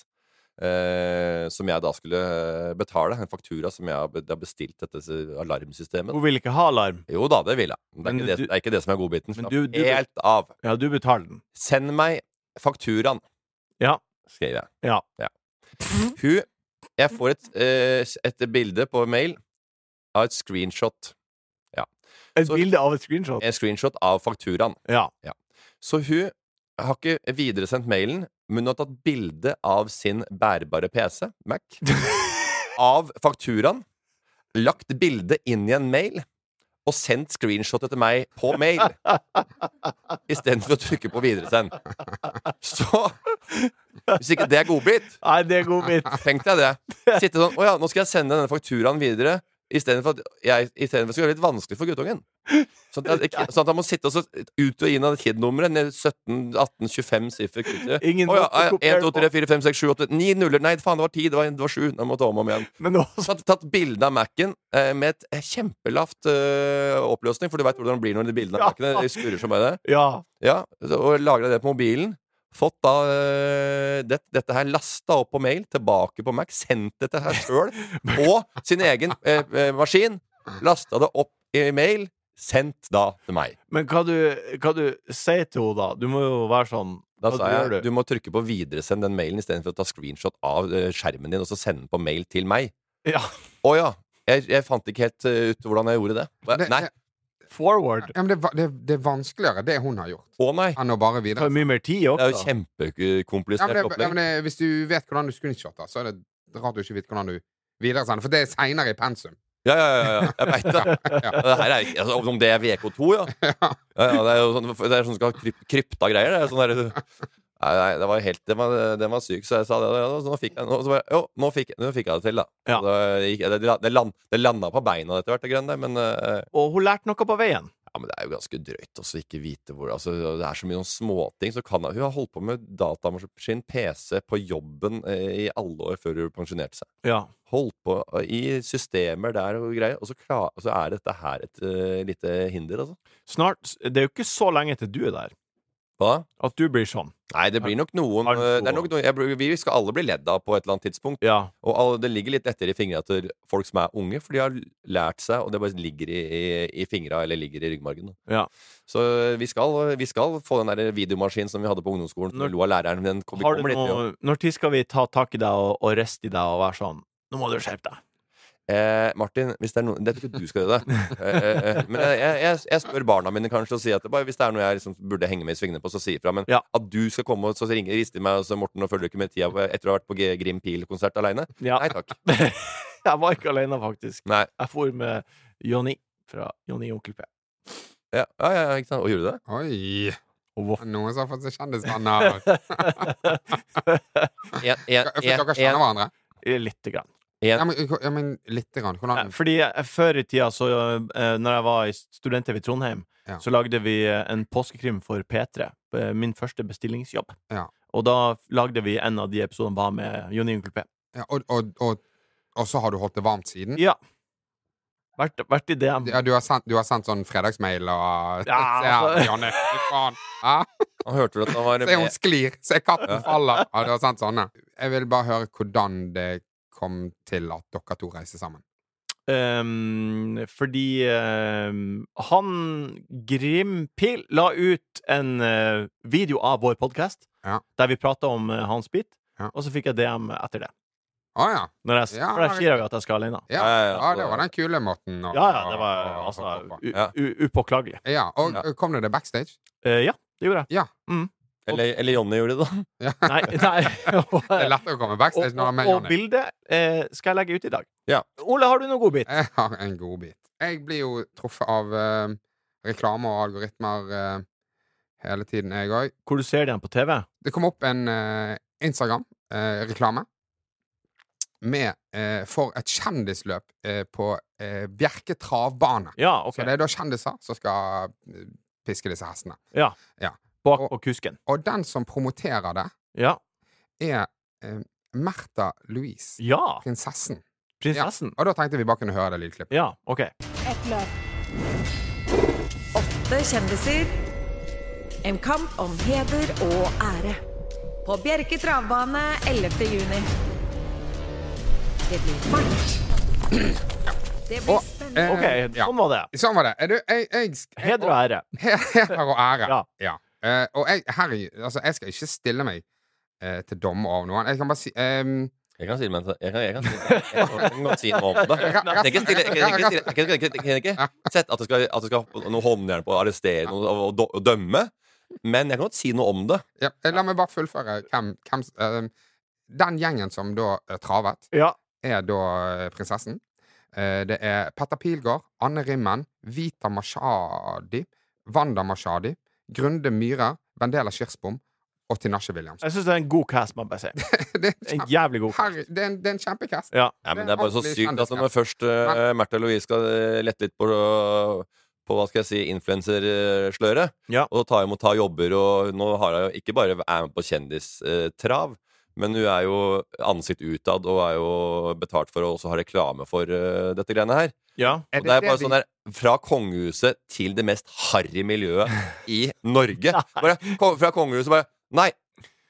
[SPEAKER 5] Eh, som jeg da skulle eh, betale. En faktura som jeg har be- har bestilt dette eh, alarmsystemet.
[SPEAKER 2] Hun vil ikke ha alarm.
[SPEAKER 5] Jo da, det vil jeg. Men
[SPEAKER 2] Men
[SPEAKER 5] Det er, ikke, det,
[SPEAKER 2] du-
[SPEAKER 5] det er ikke det som er
[SPEAKER 2] Men
[SPEAKER 5] godbiten. Slapp
[SPEAKER 2] du- du-
[SPEAKER 5] helt av.
[SPEAKER 2] Ja, du betaler den.
[SPEAKER 5] Send meg fakturaen,
[SPEAKER 2] Ja.
[SPEAKER 5] skrev jeg.
[SPEAKER 2] Ja.
[SPEAKER 5] Hun Jeg får et, eh, s- et bilde på mail av et screenshot.
[SPEAKER 2] Et
[SPEAKER 5] Så-
[SPEAKER 2] bilde av et screenshot?
[SPEAKER 5] En screenshot av fakturaen.
[SPEAKER 2] Ja.
[SPEAKER 5] Så hun har ikke videresendt mailen, men hun har tatt bilde av sin bærbare PC, Mac, av fakturaen, lagt bildet inn i en mail og sendt screenshotet til meg på mail. Istedenfor å trykke på videresend. Så Hvis ikke det er godbit,
[SPEAKER 2] Nei, det er godbit.
[SPEAKER 5] tenk deg det. Sitte sånn Å ja, nå skal jeg sende denne fakturaen videre. Istedenfor at jeg i stedet for at det skal være litt vanskelig for guttungen. Sånn at, jeg- sånn at han må sitte og så ut og inn av KID-nummeret. ned 17, 18, 25 siffer. kutter.
[SPEAKER 2] Ingen
[SPEAKER 5] Å ja,
[SPEAKER 2] måte å kopiere
[SPEAKER 5] 1, 2, 3, 4, 5, 6, 7, 8, 9 nuller. Nei, faen, det var 10. Det var, det var 7. Nå må jeg ta om og om igjen.
[SPEAKER 2] Men nå
[SPEAKER 5] Så hadde jeg tatt bilde av Mac-en eh, med et kjempelavt eh, oppløsning, for du veit hvordan det blir når de bildene av Mac-ene de skurrer som bare det.
[SPEAKER 2] Ja.
[SPEAKER 5] Ja, så- og lagra det på mobilen. Fått da eh, det, dette her lasta opp på mail, tilbake på Mac, sendt det til her sjøl på sin egen eh, eh, maskin. Lasta det opp i mail, sendt da til meg.
[SPEAKER 2] Men hva du, hva du sier til henne, da? Du må jo være sånn
[SPEAKER 5] Da
[SPEAKER 2] hva
[SPEAKER 5] sa
[SPEAKER 2] gjør
[SPEAKER 5] jeg du må trykke på 'videresend den mailen' istedenfor å ta screenshot av eh, skjermen din og så sende den på mail til meg.
[SPEAKER 2] Ja.
[SPEAKER 5] Å ja. Jeg, jeg fant ikke helt eh, ut hvordan jeg gjorde det.
[SPEAKER 4] Det-
[SPEAKER 5] Nei.
[SPEAKER 4] det-
[SPEAKER 2] Forward.
[SPEAKER 4] Ja, men det, er va- det, det er vanskeligere, det hun har gjort,
[SPEAKER 5] Å nei.
[SPEAKER 4] enn å bare
[SPEAKER 2] Det tar
[SPEAKER 4] videre.
[SPEAKER 2] jo mye mer tid
[SPEAKER 5] Det er jo
[SPEAKER 2] også.
[SPEAKER 4] Ja,
[SPEAKER 5] kjempekomplisert
[SPEAKER 4] men det, ja, men
[SPEAKER 5] opplegg.
[SPEAKER 4] det, hvis du vet hvordan du screenshotter, så er det rart du ikke vet hvordan du videresender. For det er seinere i pensum.
[SPEAKER 5] Ja, ja, ja, ja. Jeg veit det.
[SPEAKER 4] Ja.
[SPEAKER 5] Det her er ikke, altså, om det er VK2, ja. ja, ja det er jo sånn det er sånn som skal ha kryp, krypta greier. Det er sånn der, nei, nei, det var helt Den var, den var syk, så jeg sa det. Ja, så nå fikk jeg, nå, så bare, jo, nå fikk, jeg- nå fikk jeg det til, da.
[SPEAKER 2] Ja.
[SPEAKER 5] Og Det, gikk, det, det, land, det landa på beina etter hvert, det greiene der, men eh,
[SPEAKER 2] Og hun lærte noe på veien.
[SPEAKER 5] ja, men det er jo ganske drøyt også ikke vite hvor altså, Det er så mye sånn småting. Så kan, hun har holdt på med datamaskin, PC, på jobben eh, i alle år før hun pensjonerte seg.
[SPEAKER 2] Ja.
[SPEAKER 5] Holdt på eh, i systemer der og greier, og så, klar, og så er dette her et eh, lite hinder, altså.
[SPEAKER 2] Snart Det er jo ikke så lenge til du er der.
[SPEAKER 5] Hva?
[SPEAKER 2] At du blir sånn.
[SPEAKER 5] Nei, det blir nok noen,
[SPEAKER 2] Har den
[SPEAKER 5] eh, det er
[SPEAKER 2] to
[SPEAKER 5] nok noen jeg, blir- Vi skal alle bli ledd av på et eller annet tidspunkt.
[SPEAKER 2] Ja.
[SPEAKER 5] Og alle, det ligger litt etter i fingra til folk som er unge, for de har lært seg, og det bare ligger i, i, i fingra eller ligger i ryggmargen. da.
[SPEAKER 2] Ja.
[SPEAKER 5] Så vi skal, vi skal få den der videomaskinen som vi hadde på ungdomsskolen. som
[SPEAKER 2] Når-
[SPEAKER 5] vi lo av læreren, men den kom, vi
[SPEAKER 2] Har du
[SPEAKER 5] kommer dit. jo.
[SPEAKER 2] noe Når tid skal vi ta tak i deg og, og riste i deg og være sånn Nå må du skjerpe deg.
[SPEAKER 5] Eh, Martin, hvis det er noe, jeg tror ikke du skal gjøre det. Eh, eh, eh, men jeg, jeg, jeg, jeg spør barna mine kanskje og sier at det bare, hvis det er noe jeg liksom burde henge med i svingene på, så si ifra. Men
[SPEAKER 2] Ja.
[SPEAKER 5] at du skal komme og så ringe, riste i meg og så Morten og følger du ikke med i tida etter å ha vært på G- Grim Pil-konsert aleine?
[SPEAKER 2] Ja.
[SPEAKER 5] Nei takk.
[SPEAKER 2] Jeg var ikke alene, faktisk.
[SPEAKER 5] Nei.
[SPEAKER 2] Jeg for med Jonny fra Jonny og Onkel P.
[SPEAKER 5] Ja, ja, ja, ikke sant. Og gjorde du det?
[SPEAKER 4] Oi!
[SPEAKER 2] Og voff.
[SPEAKER 4] Noen som har fått seg kjendisvenner.
[SPEAKER 5] En, en,
[SPEAKER 4] For
[SPEAKER 5] en,
[SPEAKER 4] dere
[SPEAKER 5] en,
[SPEAKER 4] kjenner hverandre?
[SPEAKER 2] Lite grann.
[SPEAKER 5] en,
[SPEAKER 4] Ja, men, ja, men lite grann.
[SPEAKER 2] Nei,
[SPEAKER 4] Hvordan
[SPEAKER 2] Fordi eh, før i tida, så, eh, når jeg var i student-TV i Trondheim,
[SPEAKER 4] Ja.
[SPEAKER 2] så lagde vi eh, en påskekrim for P3. eh, Min første bestillingsjobb.
[SPEAKER 4] Ja.
[SPEAKER 2] Og da f- lagde vi en av de episodene var med Jonny Onkel P.
[SPEAKER 4] ja, og, og, og, og så har du holdt det varmt siden?
[SPEAKER 2] Ja. Vært, vært i DM.
[SPEAKER 4] Mm. Ja, du har sendt, du har sendt sånn fredagsmail og
[SPEAKER 2] Ja,
[SPEAKER 4] Se her,
[SPEAKER 2] altså.
[SPEAKER 4] Janne. Fy faen. Ja,
[SPEAKER 5] Han hørte vel at han var
[SPEAKER 4] se, hun
[SPEAKER 5] med
[SPEAKER 4] sklir. Se, katten faller. Ja, du har sendt sånne. Jeg vil bare høre hvordan det kom til at dere to reiser sammen.
[SPEAKER 2] Ehm, fordi ehm, han Grimpil la ut en eh, video av vår podkast
[SPEAKER 4] Ja.
[SPEAKER 2] der vi prata om eh, hans bit,
[SPEAKER 4] Ja.
[SPEAKER 2] og så fikk jeg DM etter det.
[SPEAKER 4] Å ja.
[SPEAKER 2] Når jeg, s-
[SPEAKER 4] Ja,
[SPEAKER 2] for der sier jeg jo at jeg skal alene.
[SPEAKER 5] Ja,
[SPEAKER 4] Ja,
[SPEAKER 5] ja,
[SPEAKER 4] ja,
[SPEAKER 5] ja.
[SPEAKER 4] det var den kule måten. å-
[SPEAKER 2] Ja, ja, det var
[SPEAKER 4] å- å-
[SPEAKER 2] altså
[SPEAKER 4] å- å- å-
[SPEAKER 2] u-
[SPEAKER 5] Ja.
[SPEAKER 2] u- upåklagelig.
[SPEAKER 4] Ja, og
[SPEAKER 5] Ja.
[SPEAKER 4] kom det det backstage?
[SPEAKER 2] Eh, ja, det gjorde jeg.
[SPEAKER 5] Eller, eller Jonny gjorde det, da.
[SPEAKER 2] Nei, nei. og,
[SPEAKER 4] Det er lettere å komme backstage når
[SPEAKER 2] og,
[SPEAKER 4] man er med
[SPEAKER 2] og
[SPEAKER 4] Janne.
[SPEAKER 2] bildet eh, skal jeg legge ut i dag.
[SPEAKER 5] Ja.
[SPEAKER 2] Ole, har du noen godbit?
[SPEAKER 4] Jeg har en godbit. Jeg blir jo truffet av eh, reklame og algoritmer eh, hele tiden, jeg òg.
[SPEAKER 2] Hvor du ser den på TV?
[SPEAKER 4] Det kom opp en eh, Instagram-reklame med eh, for et kjendisløp eh, på eh, Bjerke travbane.
[SPEAKER 2] Ja, OK.
[SPEAKER 4] Så det er da kjendiser som skal eh, piske disse hestene.
[SPEAKER 2] Bak på kusken.
[SPEAKER 4] Og den som promoterer det,
[SPEAKER 2] Ja.
[SPEAKER 4] er eh, Märtha Louise,
[SPEAKER 2] ja.
[SPEAKER 4] prinsessen.
[SPEAKER 2] Prinsessen.
[SPEAKER 4] Og da tenkte vi bare kunne høre det lydklippet.
[SPEAKER 2] Ja, OK.
[SPEAKER 6] Et løp.
[SPEAKER 7] Åtte kjendiser. En kamp om heder og ære. På Bjerke travbane 11. juni. Det blir fart. Det blir
[SPEAKER 4] Og,
[SPEAKER 7] spennende.
[SPEAKER 4] eh,
[SPEAKER 2] OK,
[SPEAKER 4] ja.
[SPEAKER 2] sånn var det.
[SPEAKER 4] Sånn var det. Er du, jeg, jeg, jeg,
[SPEAKER 2] Heder og ære.
[SPEAKER 4] Heder og ære.
[SPEAKER 2] Ja.
[SPEAKER 4] ja. Eh, og jeg, herre, altså, jeg skal ikke stille meg eh, til dommer over noen. Jeg kan bare si ehm,
[SPEAKER 5] Jeg kan si det, men jeg kan, jeg kan, si det. jeg kan, jeg kan godt si noe om det. Jeg kan ikke stille- jeg kan ikke stille- jeg kan ikke- jeg kan ikke- jeg kan ikke sette at det skal, at det skal noe håndjern på å arrestere noen og, og, dø- og dømme, men jeg kan godt si noe om det.
[SPEAKER 4] ja, eh, La meg bare fullføre hvem, hvem s- ehm, Den gjengen som da eh, travet,
[SPEAKER 2] Ja.
[SPEAKER 4] er da eh, prinsessen. Eh, Det er Petter Pilgaard, Anne Rimmen, Vita Mashadi, Wanda Mashadi, Grunde Myhrer, Vendela Kirsbom og Tinashe Williams.
[SPEAKER 2] Jeg syns det er en god cast, må jeg bare si.
[SPEAKER 4] Det er en,
[SPEAKER 2] En
[SPEAKER 4] kjempe-
[SPEAKER 2] jævlig god cast.
[SPEAKER 4] Herre, det er en, det er en kjempecast.
[SPEAKER 2] Ja.
[SPEAKER 5] Ja, men det er bare så
[SPEAKER 4] Ordentlig
[SPEAKER 5] sykt at
[SPEAKER 4] kjendisskap.
[SPEAKER 5] når først uh, Märtha Louise skal eh, lette litt på, på hva skal jeg si, influensersløret,
[SPEAKER 2] Ja.
[SPEAKER 5] og ta imot ta jobber Og nå har hun jo ikke bare er med på kjendistrav, men hun er jo ansikt utad og er jo betalt for å også ha reklame for eh, dette greiene her.
[SPEAKER 2] ja.
[SPEAKER 4] Er
[SPEAKER 5] Og det er bare
[SPEAKER 4] vi-
[SPEAKER 5] sånn der Fra kongehuset til det mest harry miljøet i Norge. Bare, kom, fra kongehuset bare Nei,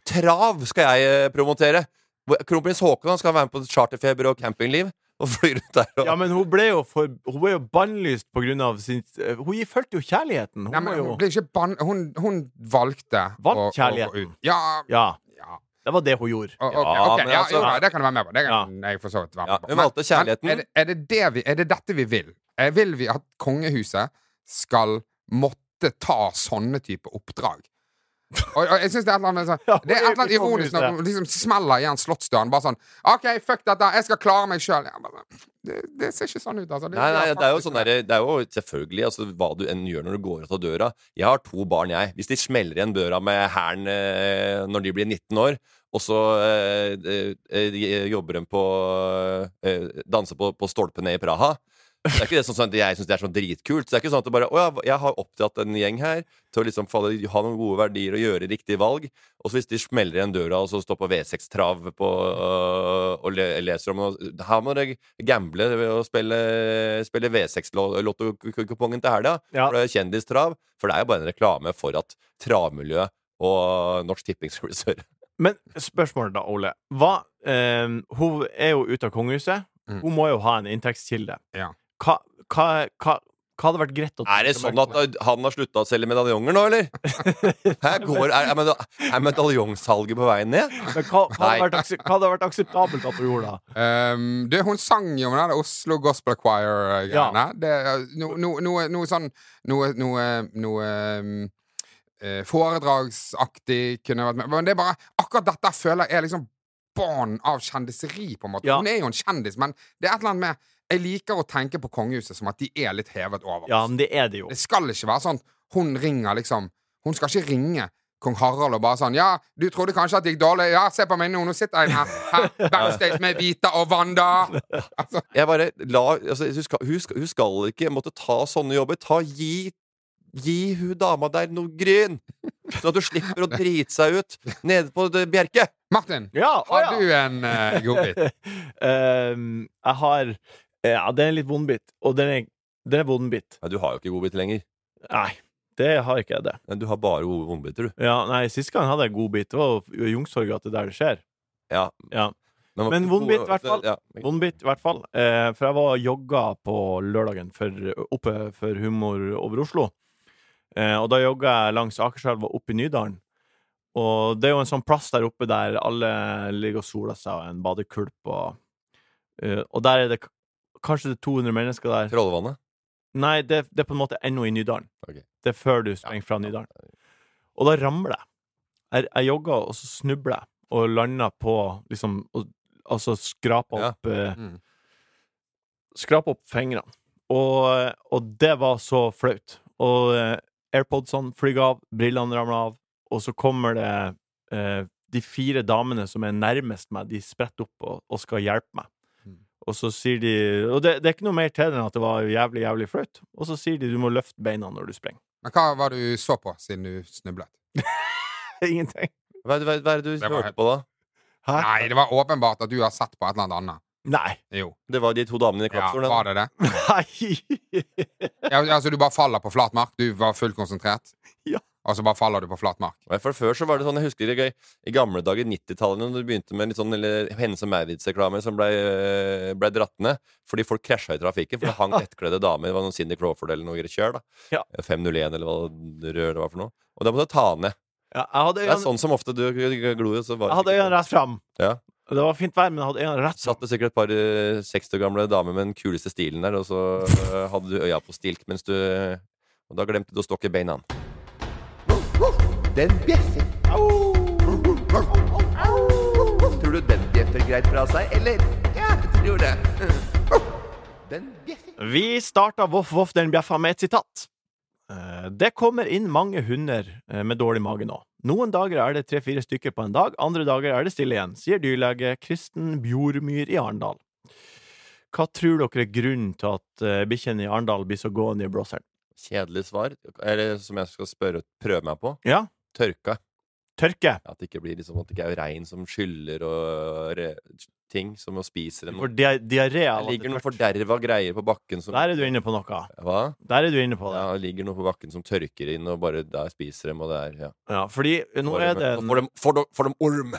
[SPEAKER 5] trav skal jeg eh, promotere! Hvor- Kronprins Haakon skal være med på charterfeber og campingliv. Og fly rundt der og
[SPEAKER 2] ja, men hun ble jo, for, hun ble jo bannlyst på grunn av sin Hun fulgte jo kjærligheten.
[SPEAKER 4] Nei,
[SPEAKER 2] Hun
[SPEAKER 4] men
[SPEAKER 2] var jo
[SPEAKER 4] hun ble ikke bann... Hun, hun valgte
[SPEAKER 2] Valgt
[SPEAKER 4] å- å gå
[SPEAKER 2] kjærligheten.
[SPEAKER 4] ut. Ja,
[SPEAKER 2] Ja.
[SPEAKER 4] ja.
[SPEAKER 2] Det var det hun gjorde.
[SPEAKER 4] Å, ok,
[SPEAKER 5] Ja,
[SPEAKER 4] ok,
[SPEAKER 5] men
[SPEAKER 4] ja,
[SPEAKER 5] altså-
[SPEAKER 4] jo, nei, det kan du være med på. Det kan jeg for så vidt være
[SPEAKER 5] Ja,
[SPEAKER 4] med på.
[SPEAKER 5] hun valgte kjærligheten.
[SPEAKER 4] er, det, er, det det vi, er det dette vi vil? Eh, Vil vi at kongehuset skal måtte ta sånne type oppdrag? Og, og jeg synes Det er et eller annet, med
[SPEAKER 2] Ja,
[SPEAKER 4] sånn, det er et eller
[SPEAKER 2] i
[SPEAKER 4] annet ironisk når
[SPEAKER 2] kongehuset.
[SPEAKER 4] hun liksom smeller igjen slottsdøren. Bare sånn 'OK, fuck dette, jeg skal klare meg sjøl'. sånn, Det, det ser ikke sånn ut, altså.
[SPEAKER 5] Nei, nei, det er jo
[SPEAKER 4] faktisk-
[SPEAKER 5] sånn der, det er jo selvfølgelig altså, hva du enn gjør når du går ut av døra. Jeg har to barn, jeg. Hvis de smeller igjen døra med hæren eh, når de blir 19 år, og så eh, eh, eh, jobber de på eh, Danser på, på stolpene i Praha. Det er ikke det sånn, sånn at Jeg syns det er sånn dritkult. Så det er ikke sånn at det bare, å, ja, jeg har oppdratt en gjeng her til å liksom, fader, ha noen gode verdier og gjøre riktige valg. Og så hvis de smeller igjen døra og så står på V6-trav på, øh, og le leser om noe Her må dere gamble ved å spille, spille V6-lottokupongen til helga.
[SPEAKER 2] Ja.
[SPEAKER 5] For det er kjendistrav. For det er jo bare en reklame for at travmiljøet og Norsk Tipping skal bli større.
[SPEAKER 2] Men spørsmålet da, Ole. Hva, eh, hun er jo ute av kongehuset.
[SPEAKER 4] Mm.
[SPEAKER 2] Hun må jo ha en inntektskilde.
[SPEAKER 4] Ja.
[SPEAKER 2] Hva, hva, hva, hva hadde vært greit å
[SPEAKER 5] Er det sånn at han har slutta å selge medaljonger nå, eller? Her går, er, er, meda- er medaljongsalget på veien ned?
[SPEAKER 2] Men hva, hva, hadde
[SPEAKER 5] Nei.
[SPEAKER 2] vært, akse- hva hadde vært akseptabelt at hun gjorde da?
[SPEAKER 4] Um, du, hun sang jo om den der Oslo Gospel eh, Choir-greiene.
[SPEAKER 2] Ja.
[SPEAKER 4] Noe no, noe- noe sånn Noe, noe, noe um, eh, foredragsaktig kunne vært med. Men det er bare akkurat dette føler jeg er liksom barn av kjendiseri, på en måte.
[SPEAKER 2] Ja.
[SPEAKER 4] Hun er jo en kjendis, men det er et eller annet med Jeg liker å tenke på kongehuset som at de er litt hevet over oss.
[SPEAKER 2] Ja, men det er det jo.
[SPEAKER 4] Det skal ikke være sånn Hun ringer liksom Hun skal ikke ringe Kong Harald og bare sånn Ja, du trodde kanskje at det gikk dårlig Ja, se på meg nå, nå sitter jeg her, her backstage med Vita og Wanda altså,
[SPEAKER 5] jeg bare la, altså, hun, skal, hun, skal, hun skal ikke måtte ta sånne jobber. Ta, gi Gi hun dama der noe gryn! Sånn at du slipper å drite seg ut nede på det Bjerke.
[SPEAKER 4] Martin,
[SPEAKER 2] Ja, å
[SPEAKER 4] har
[SPEAKER 2] ja.
[SPEAKER 4] du en eh, god bit?
[SPEAKER 2] Ehm, jeg har eh, Ja, det er en litt vond bit. Og den er, den er vond bit.
[SPEAKER 5] Nei, du har jo ikke godbit lenger.
[SPEAKER 2] Nei, det har ikke jeg det.
[SPEAKER 5] Nei, Du har bare gode vondbiter, du.
[SPEAKER 2] Ja, nei, Sist gang hadde jeg god bit. Det var jo i Youngstorget at det er der det skjer.
[SPEAKER 5] Ja.
[SPEAKER 2] Ja.
[SPEAKER 5] Men, altså,
[SPEAKER 2] Men vondbit, i hvert fall.
[SPEAKER 5] Ja.
[SPEAKER 2] Vond bit, i hvert fall. Eh, for jeg var og jogga på lørdagen for, oppe for Humor over Oslo. Eh, og da jogga jeg langs Akerselva opp i Nydalen. Og det er jo en sånn plass der oppe der alle ligger og soler seg, og en badekulp og eh, Og der er det k- kanskje det er 200 mennesker der.
[SPEAKER 5] Trollvannet.
[SPEAKER 2] Nei, det, det er på en måte ennå i Nydalen.
[SPEAKER 5] Ok.
[SPEAKER 2] Det er før du springer fra Nydalen. Og da ramler jeg. Jeg, jeg jogger, og så snubler jeg, og lander på liksom og, Altså skraper
[SPEAKER 5] Ja.
[SPEAKER 2] opp eh,
[SPEAKER 4] Mm.
[SPEAKER 2] Skraper opp fingrene. Og, og det var så flaut. Og eh, AirPodsene flyr av, brillene ramler av, og så kommer det eh, de fire damene som er nærmest meg, de spretter opp og, og skal hjelpe meg. Og så sier de Og det, det er ikke noe mer til det enn at det var jævlig, jævlig flaut. Og så sier de du må løfte beina når du springer.
[SPEAKER 4] Men hva var det du så på siden du snublet?
[SPEAKER 2] Ingenting.
[SPEAKER 5] Hva, hva, hva er det du
[SPEAKER 4] Det var
[SPEAKER 5] hørte på da?
[SPEAKER 2] Hæ?
[SPEAKER 4] Nei, det var åpenbart at du har sett på et eller annet
[SPEAKER 2] Nei.
[SPEAKER 4] annet Jo,
[SPEAKER 5] Det var de to damene i
[SPEAKER 4] ja,
[SPEAKER 5] klappstolen.
[SPEAKER 4] var det det?
[SPEAKER 2] Nei.
[SPEAKER 4] Ja, altså du bare faller på flat mark Du var fullt konsentrert
[SPEAKER 2] Ja.
[SPEAKER 4] Og så bare faller du på flat mark
[SPEAKER 5] Nei, For før så var det sånn, jeg husker det, i gamle dager, 90-tallet, når det begynte med litt sånn eller, Hennes og Maurits-reklame som ble, øh, ble dratt ned fordi folk krasja i trafikken. For det hang lettkledde damer. Det var noen Cindy Crawford eller noe kjør. da. Eh,
[SPEAKER 2] Ja.
[SPEAKER 5] 501 eller hva det rør det var for noe. Og da måtte du ta ned.
[SPEAKER 2] Ja, jeg hadde
[SPEAKER 5] Det er
[SPEAKER 2] øynene,
[SPEAKER 5] sånn som ofte du glor, så var
[SPEAKER 2] jeg hadde øynene rett fram.
[SPEAKER 5] Ja.
[SPEAKER 2] Det var fint vær, men jeg hadde øynene rett
[SPEAKER 5] Satt det sikkert et par øh, 60 år gamle damer med den kuleste stilen der, og så øh, hadde du øya på stilk mens du Og da glemte du å stokke beina.
[SPEAKER 3] Den bjeffer. Au! Au! Tror du den bjeffer greit fra seg, eller? Ja, jeg tror det. Den bjeffer.
[SPEAKER 2] Vi starta Voff Voff den bjeffa med et sitat. Eh, Det kommer inn mange hunder eh, med dårlig mage nå. Noen dager er det tre-fire stykker på en dag, andre dager er det stille igjen, sier dyrlege Kristen Bjormyr i Arendal. Hva tror dere er grunnen til at eh, bikkjene i Arendal blir så gående i blåseren?
[SPEAKER 5] Kjedelig svar. Er det som jeg skal spørre, prøve meg på?
[SPEAKER 2] Ja.
[SPEAKER 5] Tørka.
[SPEAKER 2] Tørke.
[SPEAKER 5] At det ikke blir liksom at det ikke er regn som skyller og re ting som å spiser en
[SPEAKER 2] For dia- diaré
[SPEAKER 5] Det
[SPEAKER 2] av at det
[SPEAKER 5] ligger noen
[SPEAKER 2] tørker.
[SPEAKER 5] forderva greier på bakken som
[SPEAKER 2] Der er du inne på noe.
[SPEAKER 5] Hva?
[SPEAKER 2] Der er du inne på det.
[SPEAKER 5] Ja, det ligger noe på bakken som tørker inn, og bare der spiser dem, og det er ja.
[SPEAKER 2] Ja, fordi nå er det
[SPEAKER 5] Får dem, får dem, får dem orm!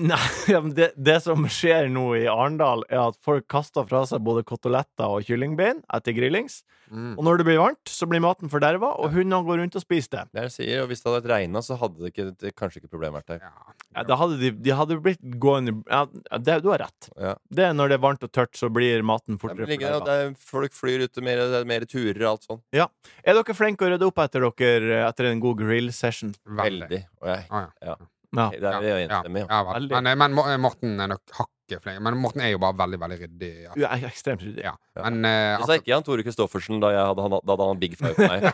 [SPEAKER 2] Nei, ja, men det, det som skjer nå i Arendal, er at folk kaster fra seg både koteletter og kyllingbein etter grillings.
[SPEAKER 4] Mm.
[SPEAKER 2] Og når det blir varmt, så blir maten forderva, og hundene går rundt og spiser det.
[SPEAKER 5] Det er det jeg sier, og hvis det hadde regna, så hadde det, ikke, det kanskje ikke problemet vært der.
[SPEAKER 4] Ja.
[SPEAKER 2] Ja, da hadde de, de hadde blitt gående ja, det, Du har rett.
[SPEAKER 5] Ja.
[SPEAKER 2] Det er når det er varmt og tørt, så blir maten
[SPEAKER 5] Det
[SPEAKER 2] fortere
[SPEAKER 5] ligger der, og
[SPEAKER 2] forderva.
[SPEAKER 5] det er, folk flyr ute mer, det er mer turer og alt sånn.
[SPEAKER 2] Er dere flinke å rydde opp etter dere eh, etter en god grill-session?
[SPEAKER 4] Veldig.
[SPEAKER 5] Veldig. Og jeg,
[SPEAKER 4] Ah,
[SPEAKER 2] Ja.
[SPEAKER 5] det er vi jo
[SPEAKER 4] ja.
[SPEAKER 5] enstemmige om.
[SPEAKER 4] Ja, vel.
[SPEAKER 2] Veldig.
[SPEAKER 4] men, eh, men Mo- eh, Morten er nok hakket flink. Men Morten er jo bare veldig, veldig ryddig. Ja.
[SPEAKER 2] Du er ekstremt ryddig.
[SPEAKER 4] Ja. Men eh,
[SPEAKER 5] Det sa
[SPEAKER 4] akkurat,
[SPEAKER 5] ikke han Tore Kristoffersen da, jeg hadde, han, da hadde han big five på meg.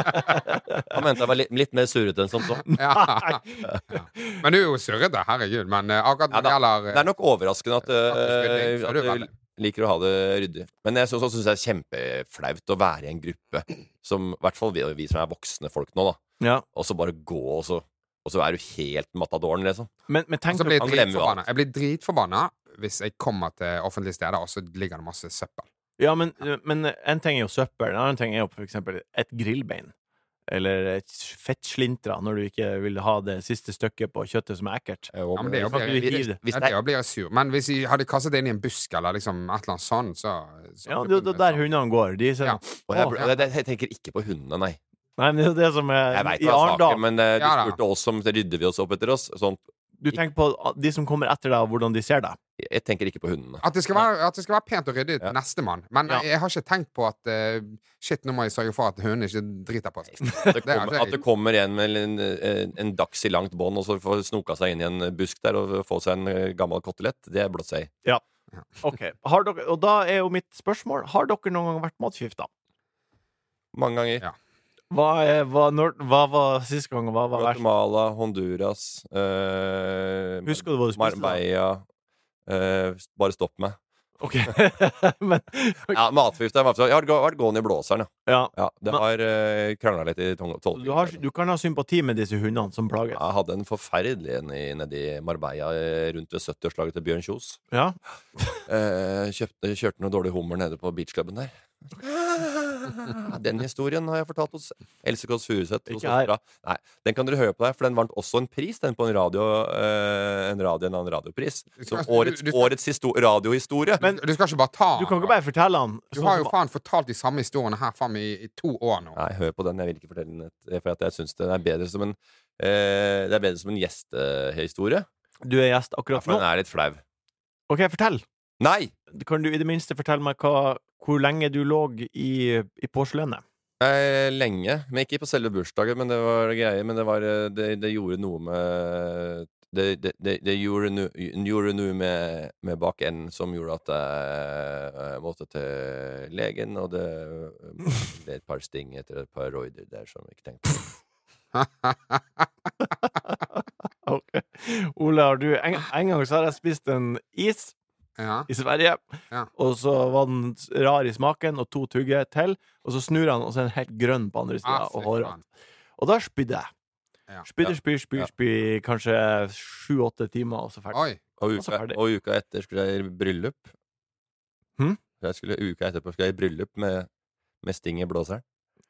[SPEAKER 5] Han mente jeg var litt, litt mer surrete enn som så.
[SPEAKER 4] ja. ja. Men du er jo surrete, herregud. Men eh, akkurat
[SPEAKER 5] Ja,
[SPEAKER 4] når det
[SPEAKER 5] da-
[SPEAKER 4] gjelder
[SPEAKER 5] Det er nok overraskende at,
[SPEAKER 4] Faktisk ryddig,
[SPEAKER 5] eh, at
[SPEAKER 4] så er det jo
[SPEAKER 5] du
[SPEAKER 4] veldig.
[SPEAKER 5] liker å ha det ryddig. Men jeg syns det er kjempeflaut å være i en gruppe som I hvert fall vi, vi som er voksne folk nå, da.
[SPEAKER 2] Ja.
[SPEAKER 5] Og så bare gå, og så, og så er du helt matadoren, liksom.
[SPEAKER 2] Men, men
[SPEAKER 4] Og
[SPEAKER 2] tenk
[SPEAKER 4] så blir jeg
[SPEAKER 5] Han glemmer jo
[SPEAKER 4] dritforbanna.
[SPEAKER 5] alt.
[SPEAKER 4] Jeg blir dritforbanna hvis jeg kommer til offentlige steder, og så ligger det masse søppel.
[SPEAKER 2] Ja, men, men en ting er jo søppel, en annen ting er jo for eksempel et grillbein. Eller et fettslintra, når du ikke vil ha det siste stykket på kjøttet som er ekkelt.
[SPEAKER 4] Ja, men det er jo
[SPEAKER 2] Kan ikke du hive det?
[SPEAKER 5] Hvis
[SPEAKER 4] Ja,
[SPEAKER 5] det
[SPEAKER 4] det blir jeg sur. Men hvis jeg hadde kastet det inn i en busk eller liksom et eller annet sånt, så, så sånn.
[SPEAKER 2] Ja, det er jo der hundene går. De ser,
[SPEAKER 4] Ja.
[SPEAKER 5] Og jeg, jeg, jeg, jeg tenker ikke på hundene, nei.
[SPEAKER 2] Nei, men det er jo det som er
[SPEAKER 5] Jeg veit
[SPEAKER 2] I
[SPEAKER 5] hva saken
[SPEAKER 2] Arendal
[SPEAKER 5] men eh, du
[SPEAKER 4] Ja, da.
[SPEAKER 5] spurte oss om det rydder vi oss opp etter oss. Sånn,
[SPEAKER 2] Du tenker på de som kommer etter deg, og hvordan de ser deg.
[SPEAKER 5] jeg tenker ikke på hundene.
[SPEAKER 4] At det, skal være, at det skal være pent og ryddig
[SPEAKER 5] Ja.
[SPEAKER 4] til nestemann. Men
[SPEAKER 2] Ja.
[SPEAKER 4] jeg har ikke tenkt på at eh, Shit, nå må jeg sørge for at hundene ikke driter på seg.
[SPEAKER 5] Det
[SPEAKER 4] Det er altså,
[SPEAKER 5] kommer,
[SPEAKER 4] det.
[SPEAKER 5] at det kommer en med en, en, en dags i langt bånd og så får snoka seg inn i en busk der og få seg en eh, gammel kotelett, det er blått seg i.
[SPEAKER 2] Ok, har dere, Og da er jo mitt spørsmål Har dere noen gang vært matforgifta?
[SPEAKER 5] Mange ganger.
[SPEAKER 4] Ja.
[SPEAKER 2] Hva, er- hva, når- hva var sist gang, og hva var verst?
[SPEAKER 5] Guatemala, Honduras eh,
[SPEAKER 2] Husker du hva du spiste? da?
[SPEAKER 5] Marbella eh, Bare stopp meg.
[SPEAKER 2] Ok, men
[SPEAKER 5] Ja, matforgift er matforgift. Jeg har gå- vært gående i blåseren, ja.
[SPEAKER 2] Ja.
[SPEAKER 5] ja det
[SPEAKER 2] Men-
[SPEAKER 5] har uh, krangla litt i tong- tolvtiden.
[SPEAKER 2] Du, har, du kan ha sympati med disse hundene som plages.
[SPEAKER 5] Jeg hadde en forferdelig en i- nedi Marbella eh, rundt ved 70-årslaget til Bjørn Kjos.
[SPEAKER 2] Ja.
[SPEAKER 5] Eh, kjøpte, kjørte noe dårlig hummer nede på beachklubben der. Ah, Den historien har jeg fortalt hos Else Kåss Furuseth. hos
[SPEAKER 2] Ikke her.
[SPEAKER 5] dattera. Nei, Den kan dere høre på der, for den vant også en pris, den på en radio, eh, en radio, en annen radiopris. Som
[SPEAKER 4] altså, Du- du-
[SPEAKER 5] årets,
[SPEAKER 4] du-
[SPEAKER 5] årets histo radiohistorie.
[SPEAKER 2] Men-
[SPEAKER 4] Du skal ikke bare ta
[SPEAKER 2] Du kan ikke bare fortelle han
[SPEAKER 4] Du
[SPEAKER 2] sånn
[SPEAKER 4] har
[SPEAKER 2] som-
[SPEAKER 4] jo faen fortalt de samme historiene her faen meg i, i to år nå.
[SPEAKER 5] Nei, hør på den. Jeg vil ikke fortelle den, et- for at jeg syns den er bedre som en eh, Det er bedre som en gjestehistorie.
[SPEAKER 2] Du er gjest
[SPEAKER 5] Ja,
[SPEAKER 2] akkurat
[SPEAKER 5] for den
[SPEAKER 2] nå.
[SPEAKER 5] er litt flau.
[SPEAKER 2] Ok, fortell.
[SPEAKER 5] Nei!
[SPEAKER 2] Kan du i det minste fortelle meg hva, hvor lenge du lå i, i porselenet?
[SPEAKER 5] Eh, Lenge. Men ikke på selve bursdagen, men det var greier. Men det, var, eh, det, det gjorde noe med det, det, det, det gjorde no- gjorde noe med, med bakenden som gjorde at jeg eh, måtte til legen, og det ble et par sting etter et par roider der som jeg ikke tenkte på.
[SPEAKER 2] Ok. Ole, har du en, en gang så har jeg spist en is
[SPEAKER 4] Ja.
[SPEAKER 2] i Sverige,
[SPEAKER 4] Ja.
[SPEAKER 2] og så var den rar i smaken, og to tugger til, og så snur han, og så er den helt grønn på andre sida,
[SPEAKER 4] Ah, fy
[SPEAKER 2] og hårete.
[SPEAKER 4] faen.
[SPEAKER 2] Og da spydde jeg.
[SPEAKER 4] Ja.
[SPEAKER 2] Spydde,
[SPEAKER 5] Ja.
[SPEAKER 2] spyr, spyr,
[SPEAKER 5] Ja.
[SPEAKER 2] spyr, kanskje sju-åtte timer, og så ferdig.
[SPEAKER 4] Oi.
[SPEAKER 5] Og
[SPEAKER 2] Og så
[SPEAKER 5] uka,
[SPEAKER 2] ferdig.
[SPEAKER 5] og uka etter skulle jeg i bryllup.
[SPEAKER 2] Hm?
[SPEAKER 5] Jeg skulle, uka etterpå skulle jeg i bryllup med, med sting i blåseren.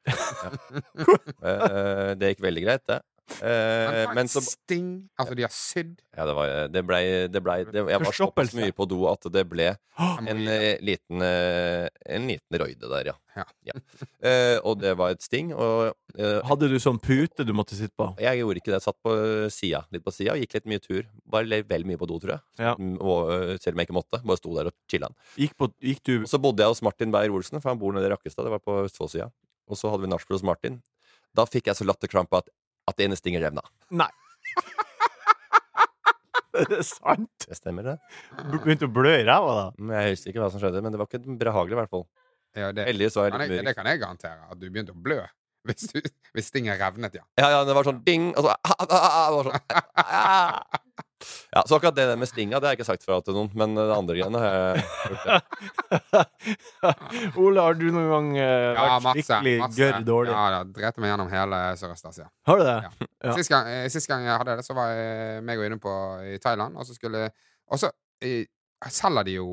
[SPEAKER 5] Ja. Eh, det gikk veldig greit, det. Eh,
[SPEAKER 4] Men
[SPEAKER 5] men så
[SPEAKER 4] Sting. Altså, de har sydd.
[SPEAKER 5] Ja, det, var, det blei det ble, det, Jeg var såpass
[SPEAKER 2] Forstoppelse.
[SPEAKER 5] mye på do at det ble
[SPEAKER 2] Åh,
[SPEAKER 5] en eh, liten eh, En liten røyde der, ja.
[SPEAKER 4] Ja.
[SPEAKER 5] Eh, og det var et sting. Og eh,
[SPEAKER 2] Hadde du sånn pute du måtte sitte på?
[SPEAKER 5] jeg gjorde ikke det. Jeg satt på sida, litt på sida, og gikk litt mye tur. Bare le- vel mye på do, tror jeg.
[SPEAKER 2] Ja.
[SPEAKER 5] Mm, Og, eh, selv om jeg ikke måtte. Bare sto der og chilla.
[SPEAKER 2] Gikk, på, gikk du
[SPEAKER 5] Og så bodde jeg hos Martin Beyer-Olsen, for han bor nede i Rakkestad. Det var på Østfoldsida. Og så hadde vi nachspiel hos Martin. Da fikk jeg så latterkrampe at, at det ene stinget revna.
[SPEAKER 2] Nei. Er det sant?
[SPEAKER 5] Det stemmer, det.
[SPEAKER 2] Begynte å blø i ræva da.
[SPEAKER 5] Men Jeg husker ikke hva som skjedde, men det var ikke behagelig, i hvert fall.
[SPEAKER 4] Ja, det,
[SPEAKER 5] Heldigvis var jeg
[SPEAKER 4] kan
[SPEAKER 5] litt
[SPEAKER 4] jeg, det
[SPEAKER 5] mørk.
[SPEAKER 4] kan jeg garantere. At du begynte å blø hvis, du, hvis ting er revnet, ja.
[SPEAKER 5] Ja, ja, det var sånn ding, og så ah, ah, ah, det var sånn, ah. Ja, Så akkurat det der med stinga, det har jeg ikke sagt fra til noen, men det andre greiene eh, har jeg gjort. det.
[SPEAKER 2] Ole, har du noen gang eh,
[SPEAKER 4] ja
[SPEAKER 2] vært skikkelig gørr dårlig?
[SPEAKER 4] Ja, da, drepte meg gjennom hele Sørøst-Asia.
[SPEAKER 2] Har du det?
[SPEAKER 4] Ja.
[SPEAKER 2] Ja.
[SPEAKER 4] Sist, gang, eh, sist gang jeg hadde det, så var jeg eh, meg og Idun på i Thailand, og så skulle Og så eh, selger de jo